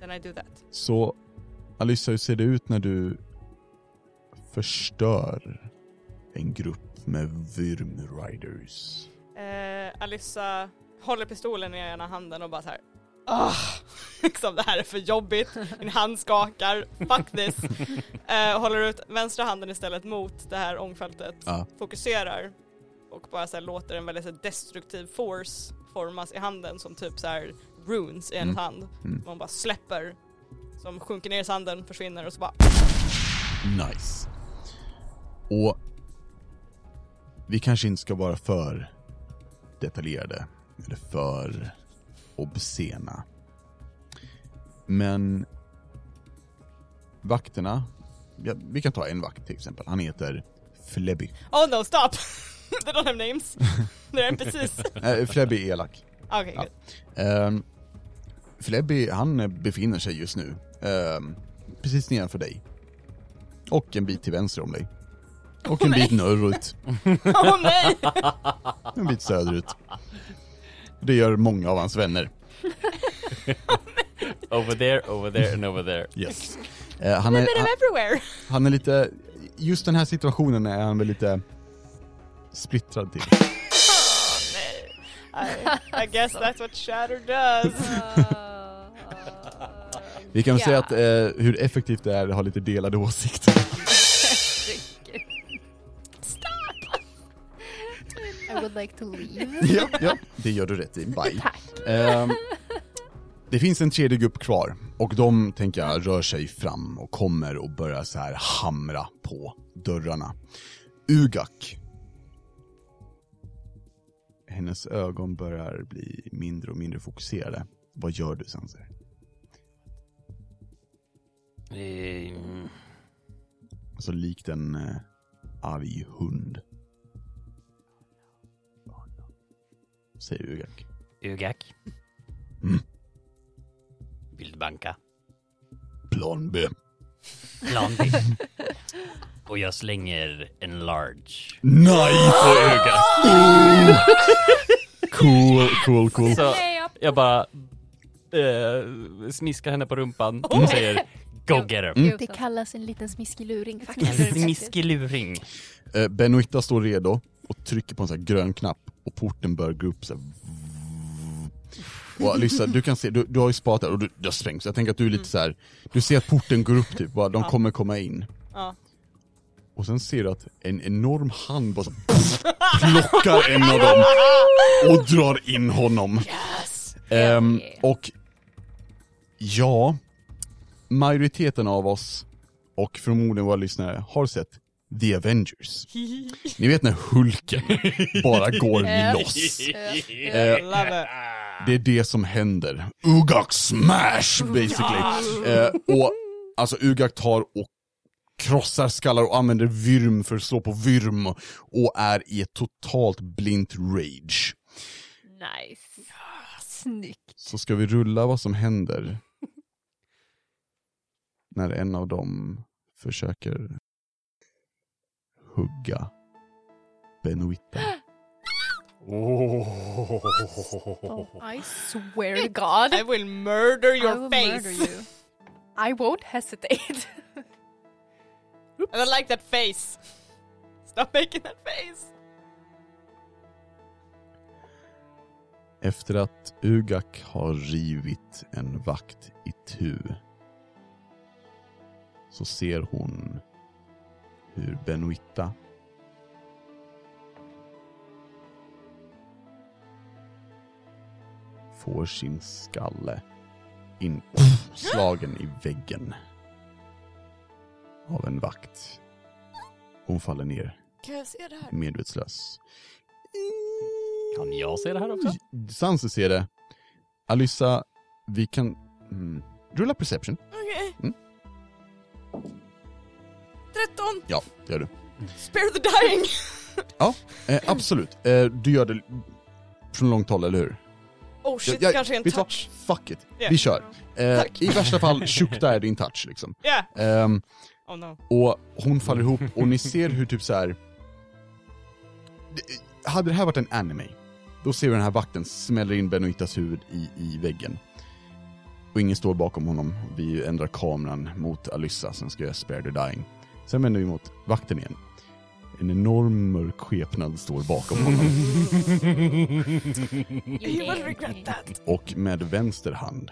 Speaker 3: Then I do that.
Speaker 1: Så Alyssa, hur ser det ut när du förstör en grupp med Vyrmriders?
Speaker 3: Eh, Alyssa håller pistolen i ena handen och bara så här. Ah, liksom det här är för jobbigt. Min hand skakar. Fuck this. Eh, håller ut vänstra handen istället mot det här ångfältet.
Speaker 1: Ja.
Speaker 3: Fokuserar och bara så här låter en väldigt så här destruktiv force formas i handen som typ så här runes i en
Speaker 1: Mm.
Speaker 3: hand.
Speaker 1: Mm.
Speaker 3: Man bara släpper. Som sjunker ner i sanden, försvinner och så bara
Speaker 1: Nice. Och vi kanske inte ska vara för detaljerade eller för obscena. Men vakterna, ja, vi kan ta en vakt till exempel. Han heter Flebby.
Speaker 3: Oh no, stop! They don't have names. They're NPCs.
Speaker 1: Äh, Flebby är elak.
Speaker 3: Okay,
Speaker 1: Ja.
Speaker 3: good.
Speaker 1: Ehm, Flebby, han befinner sig just nu ehm, precis nedanför dig. Och en bit till vänster om dig. Och en bit norrut.
Speaker 3: Åh Oh, nej!
Speaker 1: En bit söderut. Det gör många av hans vänner.
Speaker 5: Over there, over there and over there.
Speaker 1: Yes. Eh, han, är,
Speaker 3: They're
Speaker 1: han,
Speaker 3: everywhere!
Speaker 1: han är lite... Just den här situationen är han väl lite splittrad till.
Speaker 3: I, I guess that's what shatter does.
Speaker 6: uh,
Speaker 1: Vi kan väl
Speaker 4: Ja.
Speaker 1: säga att eh, hur effektivt det är att ha lite delade åsikter.
Speaker 4: I would like to leave.
Speaker 1: ja, ja, det gör du rätt i. Bye. Ehm, det finns en tredje grupp kvar och de tänker jag rör sig fram och kommer och börjar så här hamra på dörrarna. Ugak. Hennes ögon börjar bli mindre och mindre fokuserade. Vad gör du Sanser?
Speaker 5: Eh,
Speaker 2: Ehm,
Speaker 1: Alltså likt en eh, arg hund. Säger Ugak.
Speaker 2: Ugak.
Speaker 1: Mm.
Speaker 2: Vill du banka?
Speaker 1: Plan B.
Speaker 2: Plan B. Och jag slänger en large.
Speaker 1: Nej!
Speaker 2: På
Speaker 3: Ah!
Speaker 2: Ugak.
Speaker 1: Cool, cool, cool.
Speaker 5: Så jag bara eh, sniskar henne på rumpan och säger Go get her.
Speaker 1: Mm.
Speaker 6: Det kallas en liten smiskig luring
Speaker 5: En
Speaker 6: faktiskt.
Speaker 5: smiskig luring.
Speaker 1: Eh, Benoitta står redo och trycker på en sån här grön knapp och porten börjar gå upp så här. Och Alyssa, du kan se, du, du har ju spat där och du, du har svängt så jag tänker att du är lite så här. du ser att porten går upp typ, bara, de
Speaker 3: Mm. Ja.
Speaker 1: kommer komma in.
Speaker 3: Ja.
Speaker 1: Och sen ser du att en enorm hand bara så, plockar en av dem och drar in honom. Ehm, och ja, majoriteten av oss och förmodligen våra lyssnare har sett The Avengers. Ni vet när Hulken bara går loss. Eh,
Speaker 3: Love it.
Speaker 1: det är det som händer. Ugak smash basically. Eh, och alltså Ugak tar och krossar skallar och använder vyrm för att slå på vyrm och är i ett totalt blint rage.
Speaker 4: Nice. Snyggt.
Speaker 1: Så ska vi rulla vad som händer när en av dem försöker hugga Benoitta.
Speaker 6: I swear to God.
Speaker 3: I will murder your
Speaker 6: I will
Speaker 3: face.
Speaker 6: murder you. I won't hesitate.
Speaker 3: I don't like that face. Stop making that face.
Speaker 1: Efter att Ugak har rivit en vakt i tu så ser hon hur Benoitta får sin skalle inslagen i väggen av en vakt. Hon faller ner
Speaker 3: Kan jag se det här?
Speaker 1: medvetslös.
Speaker 5: Kan jag se det här också?
Speaker 1: Sanse ser det. Alyssa, vi kan... Mm. Rulla perception.
Speaker 3: Okej.
Speaker 1: Mm. Hmm?
Speaker 3: 13!
Speaker 1: Ja, det gör du.
Speaker 3: Spare the dying!
Speaker 1: Eh, absolut. Eh, du gör det från långt håll, eller hur?
Speaker 3: Oh shit,
Speaker 1: Jag- jag-
Speaker 3: kanske är en
Speaker 1: vet du vad?
Speaker 3: touch.
Speaker 1: Fuck it.
Speaker 3: Ja.
Speaker 1: Vi kör. Eh,
Speaker 3: Tack.
Speaker 1: I värsta fall, tjukta är din touch liksom.
Speaker 3: Yeah!
Speaker 1: Ehm,
Speaker 3: Oh no.
Speaker 1: och hon faller ihop och ni ser hur typ så här. hade det här varit en anime, då ser vi den här vakten smäller in Benoitas huvud i, i väggen. Och ingen står bakom honom. Vi ändrar kameran mot Alyssa som ska göra Spare the Dying. Sen vänder vi mot vakten igen. En enorm mörk skepnad står bakom honom.
Speaker 3: You will regret that.
Speaker 1: Och med vänster hand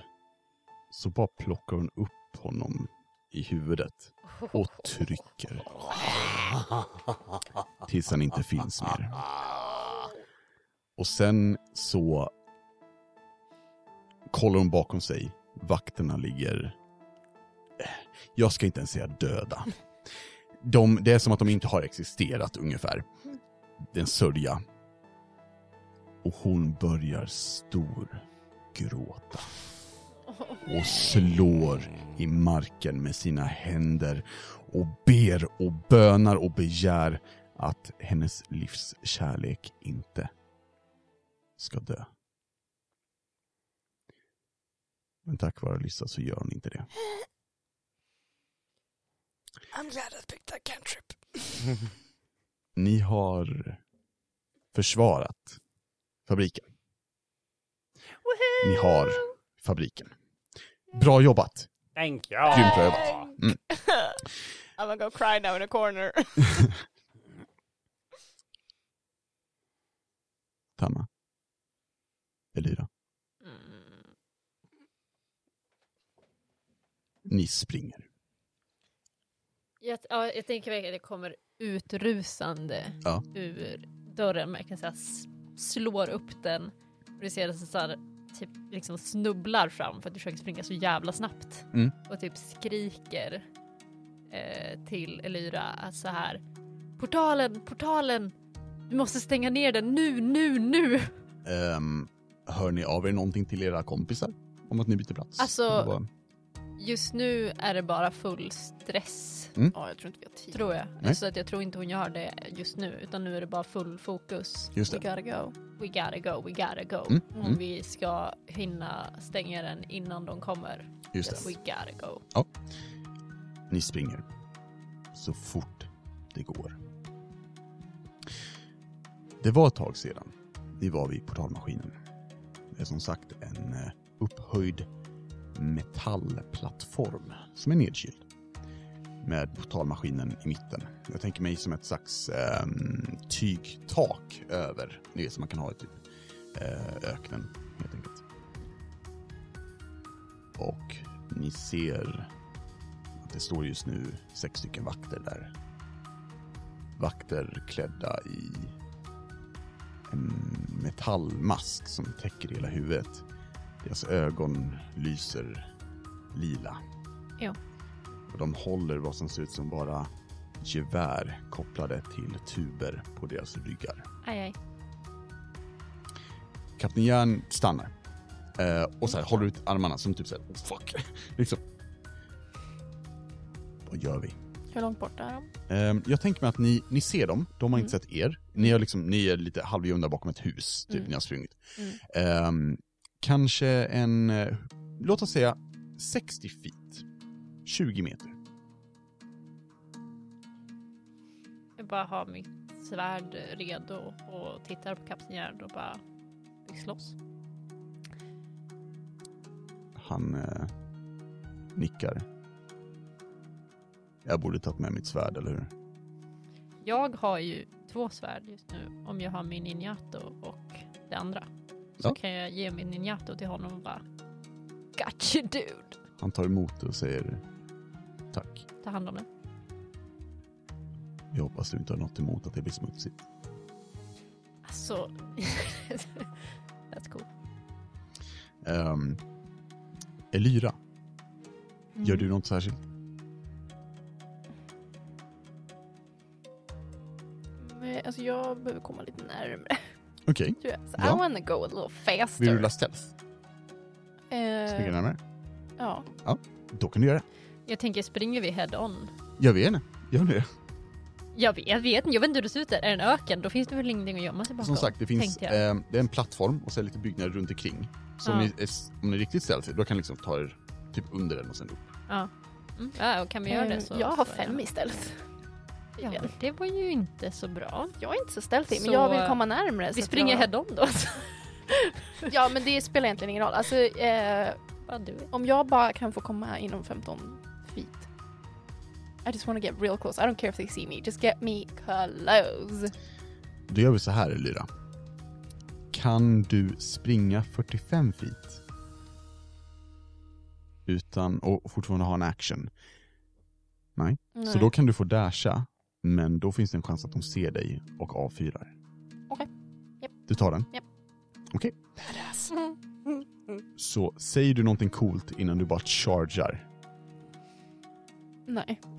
Speaker 1: så bara plockar hon upp honom i huvudet och trycker. Tills han inte finns mer. Och sen så kollar hon bakom sig. Vakterna ligger, jag ska inte ens säga döda. De, det är som att de inte har existerat ungefär. Det är en sörja. Och hon börjar storgråta. Och slår i marken med sina händer och ber och bönar och begär att hennes livs kärlek inte ska dö. Men tack vare Lisa så gör hon inte det.
Speaker 3: I'm glad I picked that cantrip.
Speaker 1: Ni har försvarat fabriken. Ni har fabriken. Bra jobbat!
Speaker 5: Thank you.
Speaker 1: Grymt bra jobbat.
Speaker 3: I'm gonna go cry now in a corner.
Speaker 1: Tanna. Elira.
Speaker 4: Mm.
Speaker 1: Ni springer.
Speaker 4: Jag, ja, jag tänker verkligen att det kommer utrusande
Speaker 1: Ja.
Speaker 4: ur dörren. Man kan säga s- slår upp den och du ser att så här, typ liksom snubblar fram för att du försöker springa så jävla snabbt.
Speaker 1: Mm.
Speaker 4: Och typ skriker eh, till Elyra att så här Portalen, portalen! Du måste stänga ner den nu, nu, nu!
Speaker 1: Um, hör ni av er någonting till era kompisar? Om att ni byter plats?
Speaker 4: Alltså-
Speaker 1: Eller vad?
Speaker 4: Just nu är det bara full stress
Speaker 6: Ja, jag tror inte vi har tid.
Speaker 4: tror jag.
Speaker 1: Nej.
Speaker 4: Så att jag tror inte hon gör det just nu utan nu är det bara full fokus.
Speaker 1: Just det.
Speaker 6: We gotta go.
Speaker 4: We gotta go, we gotta go.
Speaker 1: Mm,
Speaker 4: Om
Speaker 1: mm.
Speaker 4: vi ska hinna stänga den innan de kommer.
Speaker 1: Just det.
Speaker 4: We gotta go.
Speaker 1: Ni springer. Så fort det går. Det var ett tag sedan ni var vid portalmaskinen. Det är som sagt en eh, upphöjd metallplattform som är nedkyld. Med portalmaskinen i mitten. Jag tänker mig som ett slags eh, tygtak över. Ni vet som man kan ha i typ eh, öknen helt enkelt. Och ni ser det står just nu sex stycken vakter där. Vakter klädda i en metallmask som täcker hela huvudet. Deras ögon lyser lila.
Speaker 4: Ja.
Speaker 1: Och de håller vad som ser ut som bara gevär kopplade till tuber på deras ryggar.
Speaker 4: Aj, aj.
Speaker 1: Kapten Järn stannar. Eh, och så här, håller ut armarna som typ såhär, fuck. liksom. Vad gör vi?
Speaker 6: Hur långt bort är de?
Speaker 1: Ehm, jag tänker mig att ni, ni ser dem, de har
Speaker 4: Mm.
Speaker 1: inte sett er. Ni, har liksom, ni är lite halvgömda bakom ett hus, typ,
Speaker 4: Mm.
Speaker 1: ni har sprungit.
Speaker 4: Mm.
Speaker 1: Ehm, kanske en, eh, låt oss säga 60 feet. 20 meter.
Speaker 4: Jag bara har mitt svärd redo och tittar på Kapten Gerd och bara vi slåss.
Speaker 1: Han eh, nickar. Jag borde tagit med mitt svärd, eller hur?
Speaker 4: Jag har ju två svärd just nu om jag har min ninjato och det andra. Så
Speaker 1: Ja.
Speaker 4: kan jag ge min ninjato till honom och bara Got you dude!
Speaker 1: Han tar emot det och säger tack.
Speaker 4: Ta hand om den.
Speaker 1: Jag hoppas du inte har något emot att det blir smutsigt.
Speaker 4: Alltså, that's cool.
Speaker 1: Ehm, Elyra,
Speaker 4: Mm.
Speaker 1: gör du något särskilt?
Speaker 6: Men, alltså jag behöver komma lite närmre.
Speaker 1: Okej,
Speaker 6: tror jag. Så
Speaker 1: Ja.
Speaker 6: I wanna go a little faster.
Speaker 1: vill du rulla stealth? Smyga
Speaker 6: eh,
Speaker 1: närmare?
Speaker 6: ja.
Speaker 1: Då kan du göra det.
Speaker 4: Jag tänker, springer vi head on?
Speaker 1: Gör vi det? Gör ni det?
Speaker 4: Jag vet, jag vet inte, jag vet inte hur det ser ut där. Är det en öken, då finns det väl ingenting att gömma sig bakom.
Speaker 1: Som sagt, det finns
Speaker 4: tänkte
Speaker 1: eh,
Speaker 4: jag.
Speaker 1: det är en plattform och så är det lite byggnader runt omkring. Så om,
Speaker 4: Ja.
Speaker 1: ni, är- om ni är riktigt stealth, då kan ni liksom ta er typ under den och sen upp.
Speaker 4: Ja, mm. ja och kan vi göra det så...
Speaker 6: Eh, jag har
Speaker 4: så-
Speaker 6: fem istället.
Speaker 4: Ja, det var ju inte så bra.
Speaker 6: Jag är inte så stealthy, men
Speaker 4: Så,
Speaker 6: jag vill komma närmre. så
Speaker 4: Vi
Speaker 6: att
Speaker 4: springer
Speaker 6: jag...
Speaker 4: head on då.
Speaker 6: Ja, men det spelar egentligen ingen roll. Alltså, eh,
Speaker 4: Vad du vet.
Speaker 6: om jag bara kan få komma inom 15 feet. I just want to get real close. I don't care if they see me. Just get me close.
Speaker 1: Då gör vi så här, Lyra. Kan du springa 45 feet? Utan, och fortfarande ha en action. Så då kan du få dasha, men då finns det en chans att de ser dig och avfyrar.
Speaker 6: Okej. Japp.
Speaker 1: Du tar den?
Speaker 6: Japp.
Speaker 1: Okej. Så säger du någonting coolt innan du bara chargar.
Speaker 6: Nej.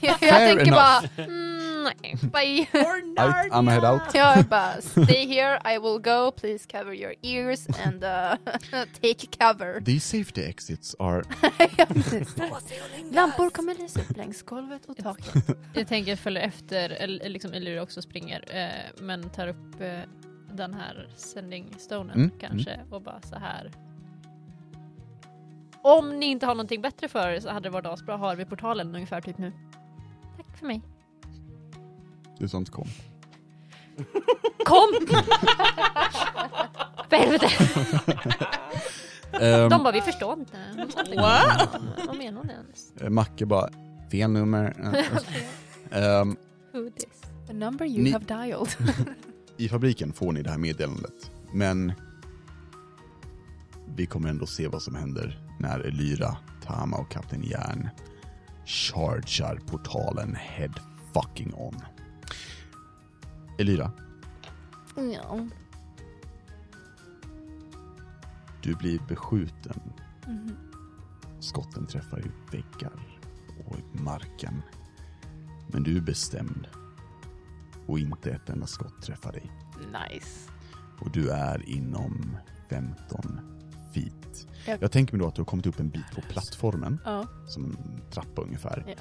Speaker 6: jag
Speaker 1: Fair
Speaker 6: tänker
Speaker 1: enough.
Speaker 6: bara, mm, nej, bye.
Speaker 1: Out, I'm a head out.
Speaker 6: jag bara, stay here, I will go, please cover your ears and uh, take cover.
Speaker 1: These safety exits are...
Speaker 6: Ja, precis. Lampor kommer lysa upp längs golvet och taket.
Speaker 4: Jag tänker följa efter, eller liksom Elira också springer, eh, men tar upp eh, den här sending stonen
Speaker 1: Mm,
Speaker 4: kanske och bara så här. Om ni inte har någonting bättre för er så hade det varit asbra. Har vi portalen ungefär typ nu? Tack för mig.
Speaker 1: Det är sånt kom.
Speaker 4: Kom! För helvete!
Speaker 1: Ehm.
Speaker 4: De bara, vi förstår inte. What? Vad menar hon ens?
Speaker 1: Eh, Macke bara, fel nummer. Eh, ehm,
Speaker 4: Who this?
Speaker 6: The number you
Speaker 1: Ni-
Speaker 6: have dialed.
Speaker 1: I fabriken får ni det här meddelandet, men vi kommer ändå se vad som händer när Elyra, Tama och Kapten Järn chargear portalen head fucking on. Elyra,
Speaker 6: ja.
Speaker 1: du blir beskjuten.
Speaker 6: Mhm.
Speaker 1: Skotten träffar ju väggar och i marken. Men du är bestämd och inte ett enda skott träffar dig.
Speaker 6: Nice.
Speaker 1: och du är inom 15 feet.
Speaker 6: Jag-
Speaker 1: Jag tänker mig då att du har kommit upp en bit på plattformen,
Speaker 6: Ja.
Speaker 1: som en trappa ungefär.
Speaker 6: Ja.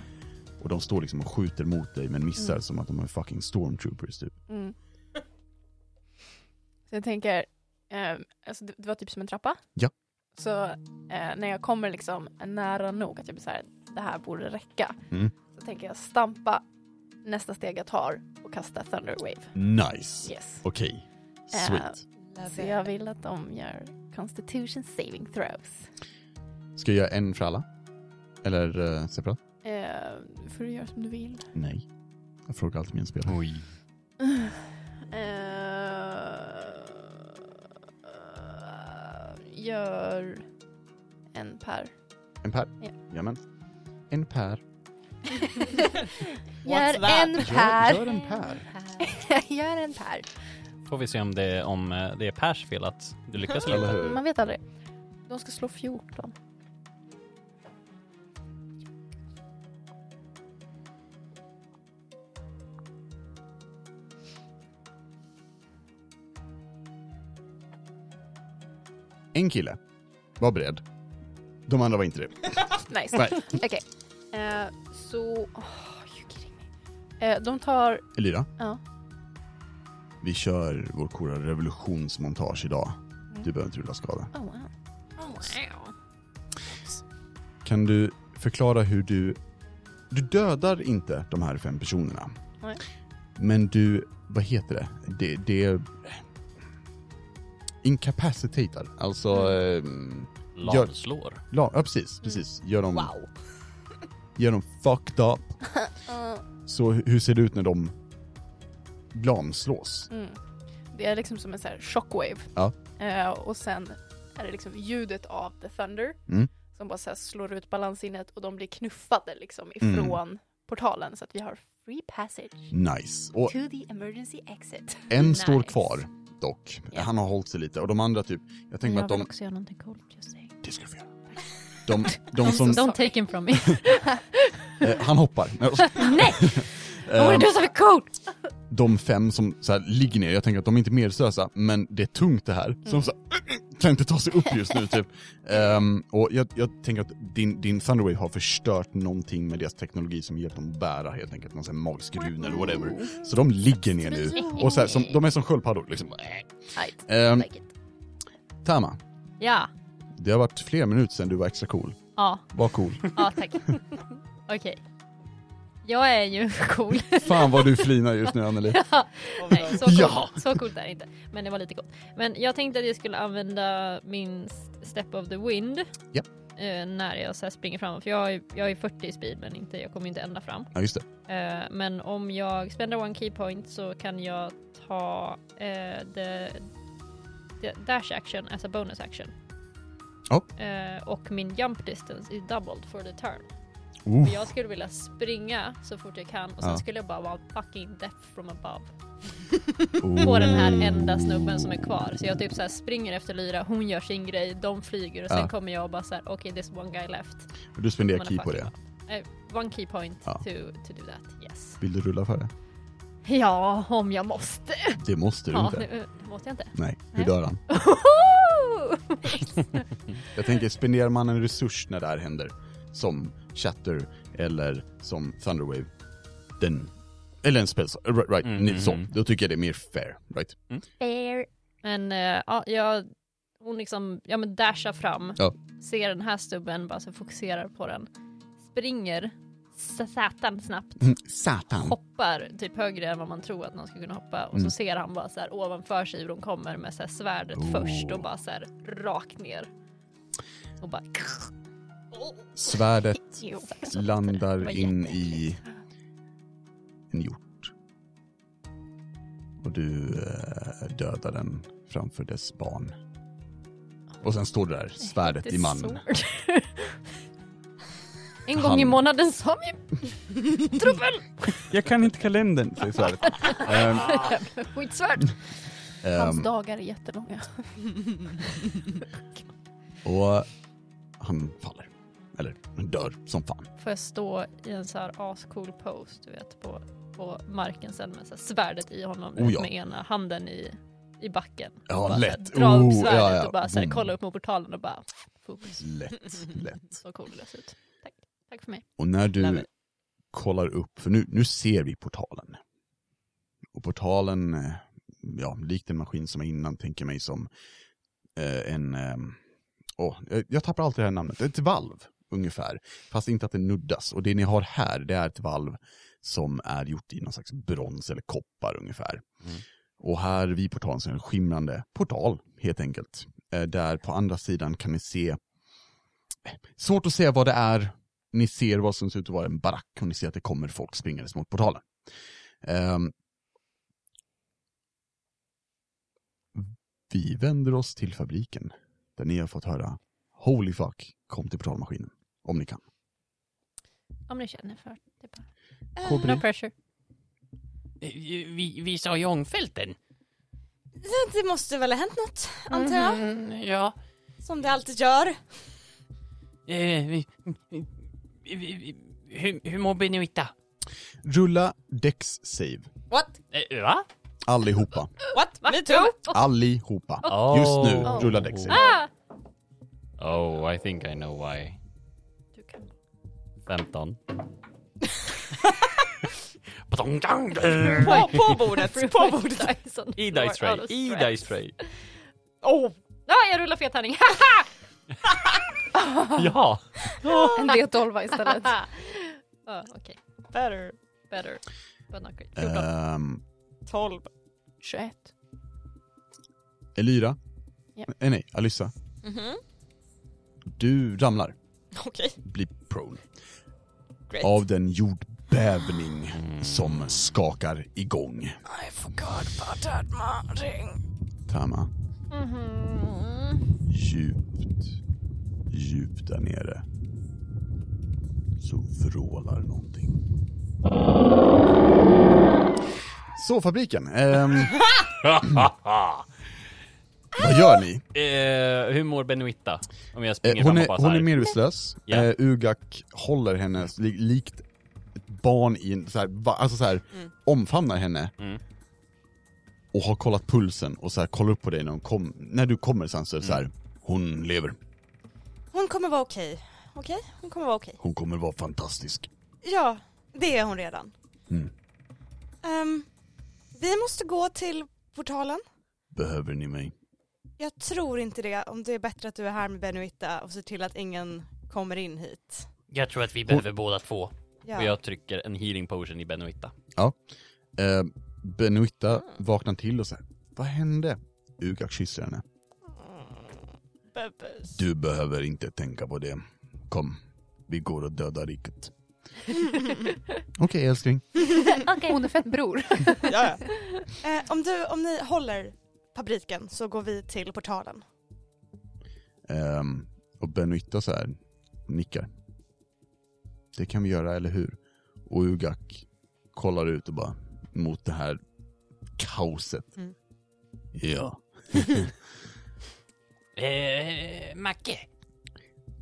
Speaker 1: Och de står liksom och skjuter mot dig men missar
Speaker 6: Mm.
Speaker 1: som att de är fucking stormtroopers typ.
Speaker 6: Mm. Så jag tänker, ehm, alltså det, det var typ som en trappa.
Speaker 1: Ja.
Speaker 6: Så eh, när jag kommer liksom nära nog att jag blir så här, det här borde räcka.
Speaker 1: Mm.
Speaker 6: Så tänker jag stampa nästa steg jag tar och kasta Thunderwave.
Speaker 1: Nice!
Speaker 6: Yes.
Speaker 1: Okej, sweet.
Speaker 6: Så jag vill att de gör Constitution saving throws.
Speaker 1: Ska jag göra en för alla? Eller eh, separat?
Speaker 6: Eh, får du göra som du vill.
Speaker 1: Nej. Jag frågar alltid mina spelare.
Speaker 5: Oj.
Speaker 6: Ehm, Eh, gör en per.
Speaker 1: En per?
Speaker 6: Ja.
Speaker 1: Jamen. En per.
Speaker 6: Gör
Speaker 3: that?
Speaker 6: en
Speaker 1: Gör,
Speaker 6: per.
Speaker 1: gör en per.
Speaker 6: Gör en per.
Speaker 5: Får vi se om det, om eh, det är Pers fel att du lyckas eller
Speaker 1: Eller
Speaker 5: inte.
Speaker 1: hur?
Speaker 6: Man vet aldrig. De ska slå 14.
Speaker 1: En kille var beredd. De andra var inte det.
Speaker 6: Nice.
Speaker 1: Nej.
Speaker 6: Okej. Eh, så... åh, you kidding me. Eh, de tar...
Speaker 1: Elira?
Speaker 6: Ja.
Speaker 1: Vi kör vår kora revolutionsmontage idag.
Speaker 6: Mm.
Speaker 1: Du behöver inte rulla skada.
Speaker 6: Oh, wow.
Speaker 1: Kan du förklara hur du... Du dödar inte de här fem personerna.
Speaker 6: Nej.
Speaker 1: Men du, vad heter det? Det, det incapacitatar, alltså...
Speaker 6: Mm.
Speaker 1: ehm, Gör-
Speaker 5: Lamslår.
Speaker 1: la, ja, precis, precis. Gör dem... Gör dem fucked up. Så hu- hur ser det ut när de lamslås?
Speaker 6: Mm. Det är liksom som en så här shockwave.
Speaker 1: Ja.
Speaker 6: Eh, och sen är det liksom ljudet av the thunder
Speaker 1: Mm.
Speaker 6: som bara så här slår ut balansinnet och de blir knuffade liksom
Speaker 1: Mm.
Speaker 6: ifrån portalen så att vi har free passage
Speaker 1: Nice. Och
Speaker 6: to the emergency exit.
Speaker 1: en står
Speaker 4: Nice.
Speaker 1: kvar, dock.
Speaker 6: Ja.
Speaker 1: Han har hållit sig lite. Och de andra typ, jag tänker mig att de...
Speaker 4: också göra någonting coolt just saying.
Speaker 1: Det ska du få göra. De, de som...
Speaker 4: Don't take him from me.
Speaker 1: eh, han hoppar.
Speaker 4: Nej! I
Speaker 1: Ehm,
Speaker 4: wanna do something cool!
Speaker 1: de fem som så här ligger ner, jag tänker att de är inte medvetslösa, men det är tungt det här.
Speaker 4: Mm.
Speaker 1: Så de så här, kan inte ta sig upp just nu typ. Ehm, och jag, jag tänker att din, din Thunderwave har förstört någonting med deras teknologi som hjälpt dem att bära helt enkelt, någon sån här magisk runa eller whatever. Så de ligger ner nu. Och så här, som, de är som sköldpaddor liksom.
Speaker 6: Right.
Speaker 1: Ehm,
Speaker 6: Like it.
Speaker 1: Tama,
Speaker 4: Ja.
Speaker 1: det har varit flera minuter sedan du var extra cool.
Speaker 4: Ja,
Speaker 1: Var cool.
Speaker 4: ja tack. Okej. Jag är ju cool.
Speaker 1: Fan vad du flinar just nu Anneli.
Speaker 4: Ja, Nej, så coolt,
Speaker 1: Ja.
Speaker 4: så coolt är det inte. Men det var lite coolt. Men jag tänkte att jag skulle använda min st- Step of the Wind.
Speaker 1: Ja.
Speaker 4: eh, När jag så här springer fram. För jag är, jag är 40 i speed men inte, jag kommer inte ända fram.
Speaker 1: Ja, just det.
Speaker 4: Eh, Men om jag spenderar one key point så kan jag ta eh, the, the dash action as a bonus action.
Speaker 1: Ja.
Speaker 4: Eh, och min jump distance is doubled for the turn.
Speaker 1: Oof.
Speaker 4: För jag skulle vilja springa så fort jag kan och sen
Speaker 1: Ja.
Speaker 4: skulle jag bara vara fucking death from above.
Speaker 1: oh.
Speaker 4: På den
Speaker 1: Mm.
Speaker 4: här enda snubben som är kvar. Så jag typ så här springer efter Lyra, hon gör sin grej, de flyger och sen
Speaker 1: Ja.
Speaker 4: kommer jag och bara såhär okej okay, there's one guy left.
Speaker 1: Och du spenderar
Speaker 4: Man är
Speaker 1: key på
Speaker 4: fucking
Speaker 1: det.
Speaker 4: bra. Eh, one key point
Speaker 1: Ja.
Speaker 4: to, to do that, yes.
Speaker 1: Vill du rulla för det?
Speaker 4: Ja, om jag måste.
Speaker 1: Det måste du
Speaker 4: Ja,
Speaker 1: inte.
Speaker 4: nu, måste jag inte.
Speaker 1: Nej, hur
Speaker 4: Nej.
Speaker 1: dör han?
Speaker 4: Oho!
Speaker 1: Jag tänker, spenderar man en resurs när det här händer? Som Chatter eller som Thunderwave? Den... Eller en spelsa, right, right
Speaker 5: Mm,
Speaker 1: ni- så.
Speaker 5: mm, mm.
Speaker 1: Då tycker jag det är mer fair, right?
Speaker 4: Men eh, ja, jag, hon liksom, ja men dashar fram,
Speaker 1: Ja.
Speaker 4: ser den här stubben, bara så fokuserar på den, springer satan snabbt,
Speaker 1: Satan.
Speaker 4: hoppar typ högre än vad man tror att någon ska kunna hoppa och
Speaker 1: Mm.
Speaker 4: så ser han bara så här ovanför sig hur de kommer med så här svärdet
Speaker 1: Oh.
Speaker 4: först och bara så här rakt ner. Och bara...
Speaker 1: Svärdet
Speaker 4: Jo, så hoppar det. Det
Speaker 1: landar
Speaker 4: var
Speaker 1: in i
Speaker 4: jätteäckligt.
Speaker 1: en hjort. Och du eh, dödar den framför dess barn. Och sen står du där, svärdet i man.
Speaker 4: Sword. en gång i
Speaker 1: Han-
Speaker 4: månaden sa vi trubbel!
Speaker 9: Jag kan inte kalendern, säger svärdet. Ehm,
Speaker 4: Skitsvärd!
Speaker 6: Hans
Speaker 5: Alltså.
Speaker 1: Ehm,
Speaker 6: dagar är jättelånga.
Speaker 1: och han faller. Eller han dör som fan.
Speaker 4: Får jag stå i en så här ascool pose, du vet, på, på marken sen med så här svärdet i honom
Speaker 1: Oh ja.
Speaker 4: med ena handen i, i backen.
Speaker 1: Ja,
Speaker 4: Och bara så här
Speaker 1: lätt.
Speaker 4: Dra upp
Speaker 1: Oh,
Speaker 4: svärdet
Speaker 1: ja, ja.
Speaker 4: och bara så här,
Speaker 1: Boom.
Speaker 4: kolla upp mot portalen och bara fokus.
Speaker 1: Lätt, lätt.
Speaker 4: Så cool det ser ut. Tack. Tack för mig.
Speaker 1: Och när
Speaker 3: Nej,
Speaker 1: du
Speaker 3: men-
Speaker 1: kollar upp, för nu, nu ser vi portalen. Och portalen, eh, ja, likt en maskin som jag innan tänker mig som eh, en, eh, åh, jag- jag tappar alltid det här namnet, ett valv ungefär. Fast inte att det nuddas. Och det ni har här, det är ett valv som är gjort i någon slags brons eller koppar ungefär.
Speaker 3: Mm.
Speaker 1: Och här vid portalen så är det en skimrande portal helt enkelt. Eh, där på andra sidan kan ni se, eh, svårt att säga vad det är, ni ser vad som ser ut att vara en barack och ni ser att det kommer folk springandes mot portalen. Ehm. Vi vänder oss till fabriken där ni har fått höra Holy fuck, kom till portalmaskinen. Om ni kan.
Speaker 4: Om ni känner för det bara.
Speaker 1: Kobri.
Speaker 4: No pressure.
Speaker 2: Vi, vi sa Eh, ju ångfälten.
Speaker 3: Det måste väl ha hänt något, antar jag.
Speaker 2: Mm, ja.
Speaker 3: Som det alltid gör.
Speaker 2: Eh, vi, vi, vi, hur, hur mår Benoitta?
Speaker 1: Rulla Dex save.
Speaker 3: What?
Speaker 2: Eh, va?
Speaker 1: Allihopa.
Speaker 3: What? Me too?
Speaker 1: Allihopa. Just nu, rulla Dex
Speaker 4: Ah,
Speaker 1: save.
Speaker 5: Oh, I think I know why.
Speaker 4: Du kan.
Speaker 5: 15.
Speaker 3: På, på bordet, på bordet.
Speaker 4: Dyson.
Speaker 5: I dice
Speaker 4: Out
Speaker 5: tray,
Speaker 4: of
Speaker 5: i
Speaker 4: stress.
Speaker 5: dice tray.
Speaker 3: Oh,
Speaker 4: Ah, jag rullar fet tärning.
Speaker 5: Ja!
Speaker 6: En D12 istället.
Speaker 4: Ja, Ah, okej.
Speaker 3: better.
Speaker 4: Better. But not great. Eh. 14.
Speaker 1: Ehm,
Speaker 3: 12.
Speaker 6: 21.
Speaker 1: Elira.
Speaker 6: Ja.
Speaker 1: Nej, Eh, nej, Alyssa. Du ramlar,
Speaker 3: Okej,
Speaker 1: blir prone.
Speaker 3: great.
Speaker 1: Av den jordbävning som skakar igång.
Speaker 3: I forgot about that morning.
Speaker 1: Tama. Djupt, djupt där nere så vrålar någonting. Så, fabriken. ehm. vad gör ni?
Speaker 5: Eh, hur mår Benoitta? Om jag
Speaker 1: Eh, hon,
Speaker 5: springer fram och
Speaker 1: är,
Speaker 5: bara
Speaker 1: hon
Speaker 5: såhär.
Speaker 1: är medvetslös.
Speaker 5: Ja.
Speaker 1: Eh, Ugak håller henne li, likt ett barn i en, så här, va, alltså så här, omfamnar henne.
Speaker 5: Mm.
Speaker 1: Och har kollat pulsen och så här, kollar upp på dig när, hon kom, när du kommer sen så är det så
Speaker 5: Mm.
Speaker 1: här, hon lever.
Speaker 3: Hon kommer vara okej. Okej? Hon kommer vara okej.
Speaker 1: Hon kommer vara fantastisk.
Speaker 3: Ja, det är hon redan.
Speaker 1: Mm.
Speaker 3: Ehm, vi måste gå till portalen.
Speaker 1: Behöver ni mig?
Speaker 3: Jag tror inte det. Om det är bättre att du är här med Benoitta och ser till att ingen kommer in hit.
Speaker 2: Jag tror att vi behöver båda två.
Speaker 3: Ja.
Speaker 5: och jag trycker en healing potion i Benoitta.
Speaker 1: Eh, Benoitta vaknar till och säger Vad hände? Ugak kysser henne.
Speaker 3: Mm. Bebis.
Speaker 1: Du behöver inte tänka på det. Kom, vi går och dödar riket. Okej älskling.
Speaker 6: Hon är fett bror.
Speaker 3: Ja, ja. Eh, om, du, om ni håller fabriken så går vi till portalen.
Speaker 1: Ehm, och Benoitta så här nickar. Det kan vi göra, eller hur? Och Ugak kollar ut och bara mot det här kaoset.
Speaker 3: Mm.
Speaker 1: Ja.
Speaker 2: Eh, Macke,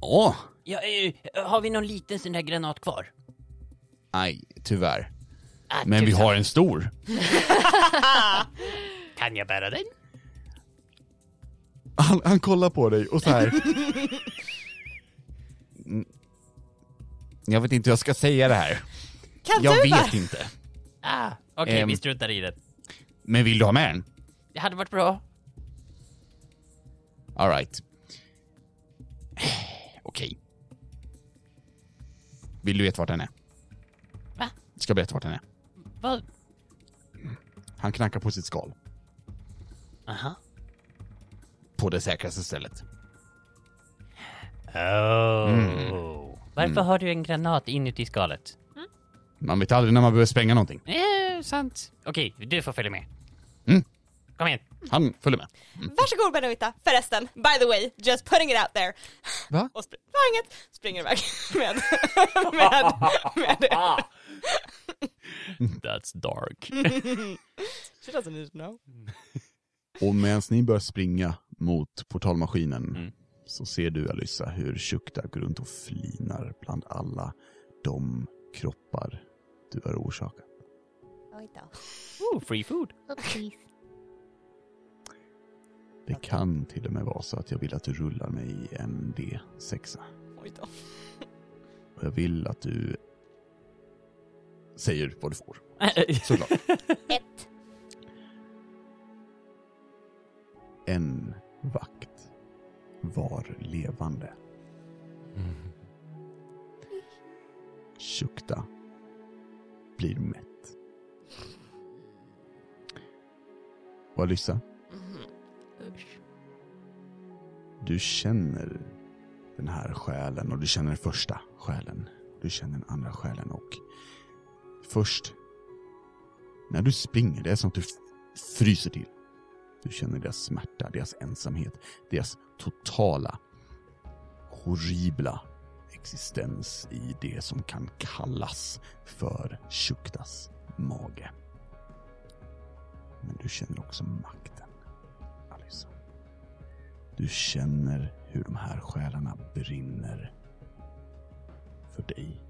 Speaker 7: Åh,
Speaker 2: ja, eh, har vi någon liten sån där granat kvar?
Speaker 7: nej, tyvärr.
Speaker 2: Ah,
Speaker 7: Men vi
Speaker 2: tusan.
Speaker 7: har en stor.
Speaker 2: Kan jag bära den?
Speaker 1: Han, han kollar på dig och så här. Mm.
Speaker 7: Jag vet inte hur jag ska säga det här.
Speaker 3: Kan
Speaker 7: Jag
Speaker 3: du
Speaker 7: vet inte.
Speaker 2: Ah, Okej,
Speaker 7: Ehm.
Speaker 2: vi struntar i det.
Speaker 7: Men vill du ha med den?
Speaker 2: Det hade varit bra.
Speaker 7: Alright. Okej. Vill du veta vart den är?
Speaker 2: Va?
Speaker 7: Ska jag berätta vart den är?
Speaker 2: Vad?
Speaker 1: Han knackar på sitt skal.
Speaker 2: Aha.
Speaker 7: På det säkraste stället.
Speaker 2: Oh. Varför har du en granat inuti skalet?
Speaker 7: Man vet aldrig när man behöver spränga någonting.
Speaker 2: Eh, sant. Okej, du får följa med.
Speaker 7: Mm.
Speaker 2: Kom igen.
Speaker 7: Han följer med.
Speaker 3: Varsågod Benoitta, förresten, by the way, just putting it out there.
Speaker 7: Va?
Speaker 3: Och spr- har inget, springer iväg med, med, med det.
Speaker 5: That's dark.
Speaker 3: She doesn't need to know.
Speaker 1: Och medan ni börjar springa mot portalmaskinen så ser du Alyssa hur Shukta går runt och flinar bland alla de kroppar du har orsakat.
Speaker 5: Ooh, free food.
Speaker 1: Det kan till och med vara så att jag vill att du rullar mig i en D6.
Speaker 3: Oj då.
Speaker 1: Och jag vill att du säger vad du får. Såklart. En vakt var levande. Shukta blir mätt. Och Alyssa, du känner den här själen och du känner den första själen. Du känner den andra själen och först när du springer, det är som att du f- fryser till. Du känner deras smärta, deras ensamhet, deras totala horribla existens i det som kan kallas för Shuktas mage. Men du känner också makten, Alyssa. Du känner hur de här själarna brinner för dig.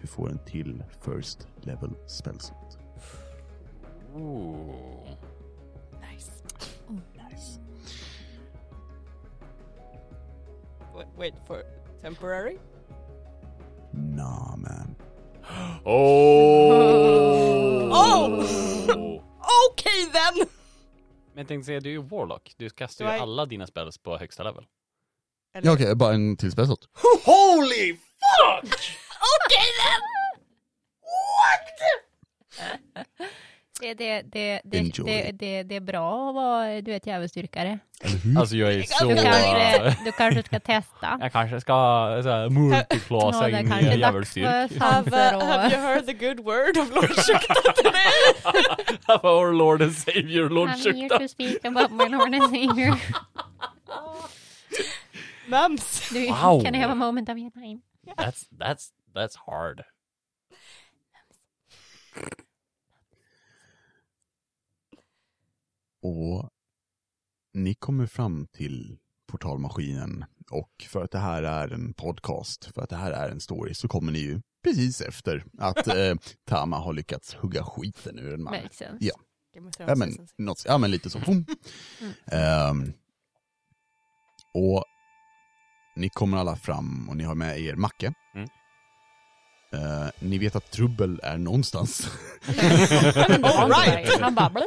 Speaker 1: Du får en till first level spellslot.
Speaker 5: Ooh.
Speaker 1: Nice.
Speaker 3: Wait, wait for temporary?
Speaker 1: Nah man.
Speaker 3: Oh! Okej then!
Speaker 5: Men jag tänkte säga, du är ju warlock. Du kastar
Speaker 3: Du
Speaker 5: ju
Speaker 3: är-
Speaker 5: alla dina spells på högsta level.
Speaker 1: Ja okej, bara en till spellslot.
Speaker 5: Holy fuck!
Speaker 3: Okej then!
Speaker 4: Det, det, det, det,
Speaker 1: Enjoy.
Speaker 4: det, det, det är bra att vara, du vet, djävulsdyrkare.
Speaker 5: Alltså jag är så...
Speaker 4: Du kanske, du kanske ska testa.
Speaker 5: Jag kanske ska eh, såhär, multiklasa in
Speaker 4: kanske
Speaker 5: i
Speaker 4: är dags
Speaker 5: djävulsdyrk.
Speaker 4: för
Speaker 3: Have,
Speaker 4: sanser
Speaker 3: uh, have you
Speaker 4: och...
Speaker 3: heard the good word of Lord Shukta today?
Speaker 5: Our Lord and Savior, Lord
Speaker 4: I'm here
Speaker 5: Shukta.
Speaker 4: to speak about my Lord and Savior.
Speaker 3: Mums!
Speaker 4: Du,
Speaker 5: Wow.
Speaker 4: Can I have a moment of your time?
Speaker 5: That's, that's, that's hard.
Speaker 1: Och ni kommer fram till portalmaskinen och för att det här är en podcast, för att det här är en story, så kommer ni ju precis efter att eh, Tama har lyckats hugga skiten ur en man.
Speaker 4: Makes sense.
Speaker 1: Ja. Ja men, något, ja, men lite så. Boom.
Speaker 4: Mm.
Speaker 1: Ehm, och ni kommer alla fram och ni har med er Macke.
Speaker 5: Mm.
Speaker 1: Eh, ni vet att Trubbel är någonstans.
Speaker 4: Ja, men det var
Speaker 3: All
Speaker 4: inte
Speaker 3: right.
Speaker 4: bra. Han bara... blablabla.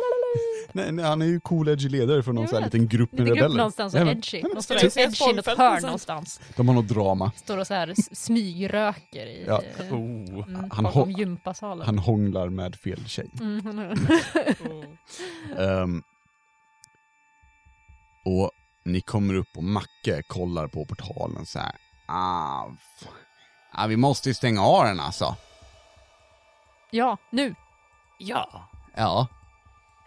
Speaker 1: Nej, nej, han är ju Cooledge-ledare för någon
Speaker 4: Jag
Speaker 1: sån här
Speaker 4: vet.
Speaker 1: liten grupp med
Speaker 4: Liten grupp
Speaker 1: rebeller.
Speaker 4: någonstans och
Speaker 1: Ja, men-
Speaker 4: edgy. De står
Speaker 3: men-
Speaker 4: liksom
Speaker 3: Jag ser
Speaker 4: edgy i något
Speaker 3: fångfälten
Speaker 4: hörn
Speaker 3: sen.
Speaker 4: någonstans.
Speaker 1: De har något drama.
Speaker 4: Står och så här s- smygröker i...
Speaker 1: Ja.
Speaker 4: eh,
Speaker 5: Oh.
Speaker 4: Mm,
Speaker 1: Han
Speaker 4: bakom
Speaker 1: ho-
Speaker 4: gympasalen.
Speaker 1: Han hånglar med fel tjej.
Speaker 4: Mm.
Speaker 1: Ehm, och ni kommer upp och Macke kollar på portalen så här. Ah, f- ah, vi måste ju stänga av den alltså.
Speaker 4: Ja, nu!
Speaker 2: Ja.
Speaker 1: Ja.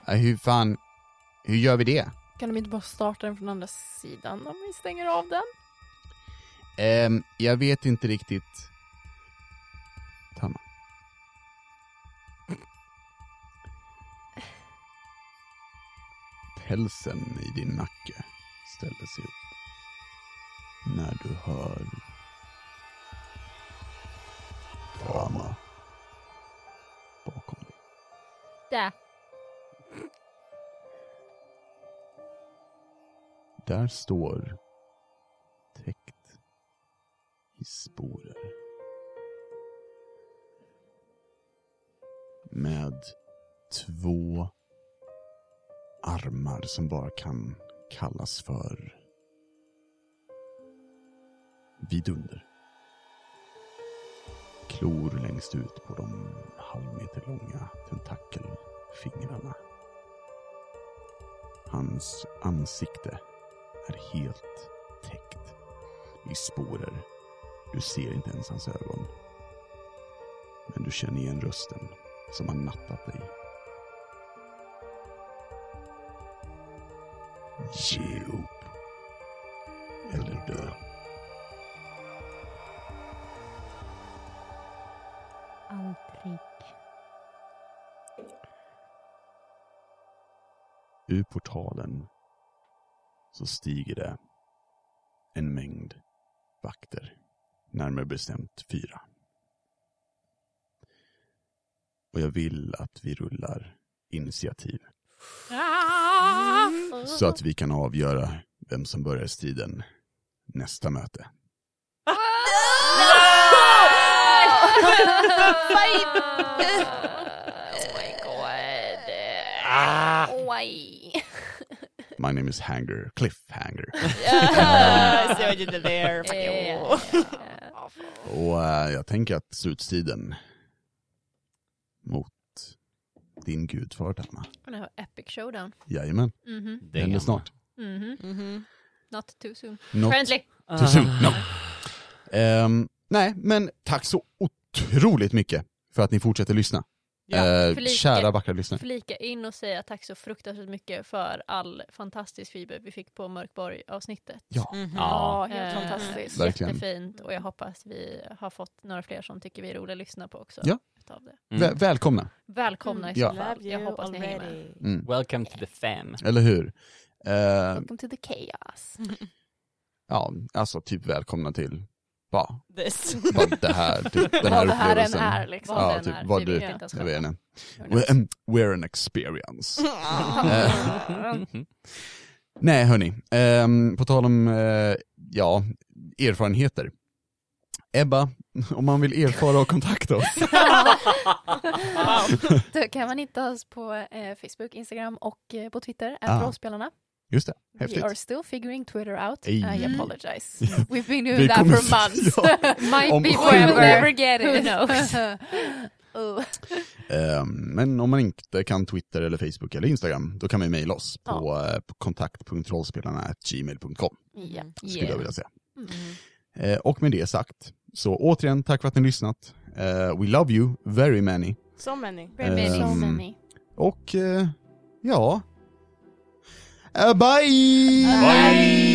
Speaker 1: Ja, Hur fan, hur gör vi det?
Speaker 6: Kan de inte bara starta den från andra sidan om vi stänger av den?
Speaker 1: Ehm, jag vet inte riktigt. Tanna. Pälsen i din nacke ställer sig upp när du hör Tama bakom dig.
Speaker 4: Där.
Speaker 1: Där står täckt i sporer. Med två armar som bara kan kallas för vidunder. Klor längst ut på de halvmeter långa tentakelfingrarna. Hans ansikte är helt täckt i sporer. Du ser inte ens hans ögon. Men du känner igen rösten som har nattat dig. Ge upp. Eller dö.
Speaker 4: Aldrig.
Speaker 1: Ur portalen så stiger det en mängd vakter. Närmare bestämt fyra. Och jag vill att vi rullar initiativ. Så att vi kan avgöra vem som börjar striden nästa möte.
Speaker 4: Oh my god. Ah.
Speaker 6: Oj.
Speaker 1: My name is Hanger, Cliffhanger.
Speaker 3: Yeah, I see what you did there.
Speaker 4: Eh,
Speaker 1: Och eh, jag tänker att slutstriden mot din gudfar Tanna.
Speaker 4: Han har epic showdown.
Speaker 1: Jajamän,
Speaker 4: Mhm,
Speaker 1: det händer snart.
Speaker 4: mhm.
Speaker 3: Mhm.
Speaker 4: Not too soon.
Speaker 1: Not
Speaker 4: Friendly.
Speaker 6: Ah.
Speaker 1: too soon, no. Ehm, nej, men tack så otroligt mycket för att ni fortsätter lyssna. Eh,
Speaker 4: Flika.
Speaker 1: kära vackra lyssnare.
Speaker 4: Flika in och säga tack så fruktansvärt mycket för all fantastisk fiber vi fick på Mörkborg-avsnittet.
Speaker 3: Mhm.
Speaker 5: Ja.
Speaker 6: Ja, helt
Speaker 4: Eh,
Speaker 6: fantastiskt.
Speaker 1: Verkligen.
Speaker 4: Jättefint och jag hoppas vi har fått några fler som tycker vi är roliga att lyssna på också.
Speaker 1: Ja.
Speaker 4: Utav det.
Speaker 5: Mm.
Speaker 1: Väl- välkomna,
Speaker 4: Välkomna
Speaker 6: Mm.
Speaker 4: i så
Speaker 1: Ja.
Speaker 4: fall. Jag hoppas ni hänger med.
Speaker 1: mm.
Speaker 5: Welcome to the fam.
Speaker 1: eller hur? Eh,
Speaker 6: Welcome to the chaos.
Speaker 1: ja, alltså typ välkomna till ja,
Speaker 3: This.
Speaker 1: vad det här, typ, den här
Speaker 6: Vad det här än
Speaker 1: upplevelsen.
Speaker 6: är liksom.
Speaker 4: Vad
Speaker 1: Ja,
Speaker 4: den
Speaker 1: typ,
Speaker 4: är.
Speaker 1: vad
Speaker 4: vi
Speaker 1: du-
Speaker 4: vet inte ens
Speaker 1: Jag vet
Speaker 4: själva.
Speaker 1: inte. We're, an- we're an experience. Nej, hörni. Ehm, på tal om, eh, ja, erfarenheter. Ebba, om man vill erfara och kontakta oss.
Speaker 6: Då kan man hitta oss på eh, Facebook, Instagram och eh, på Twitter,
Speaker 1: Ah.
Speaker 6: ah. rollspelarna.
Speaker 1: Just det, häftigt.
Speaker 6: We are still figuring Twitter out.
Speaker 1: Ej.
Speaker 6: I
Speaker 1: Mm.
Speaker 6: apologize. We've been doing
Speaker 1: Vi
Speaker 6: that
Speaker 1: kommer-
Speaker 6: for months.
Speaker 1: Ja.
Speaker 4: Might
Speaker 1: Om
Speaker 4: be
Speaker 1: sju
Speaker 6: We'll
Speaker 4: forever.
Speaker 6: never get
Speaker 4: Who
Speaker 6: it.
Speaker 4: knows?
Speaker 6: oh.
Speaker 1: Ehm, men om man inte kan Twitter eller Facebook eller Instagram, då kan man ju mejla oss på eh, på kontakt.rollspelarna.gmail.com
Speaker 6: Ja.
Speaker 1: skulle jag vilja säga.
Speaker 6: Mm.
Speaker 4: Mm-hmm.
Speaker 1: Eh, och med det sagt, så återigen tack för att ni har lyssnat. Eh, we love you very many.
Speaker 3: So many.
Speaker 1: Ehm,
Speaker 6: So many.
Speaker 1: Och eh, ja. Eh, bye!
Speaker 6: Bye!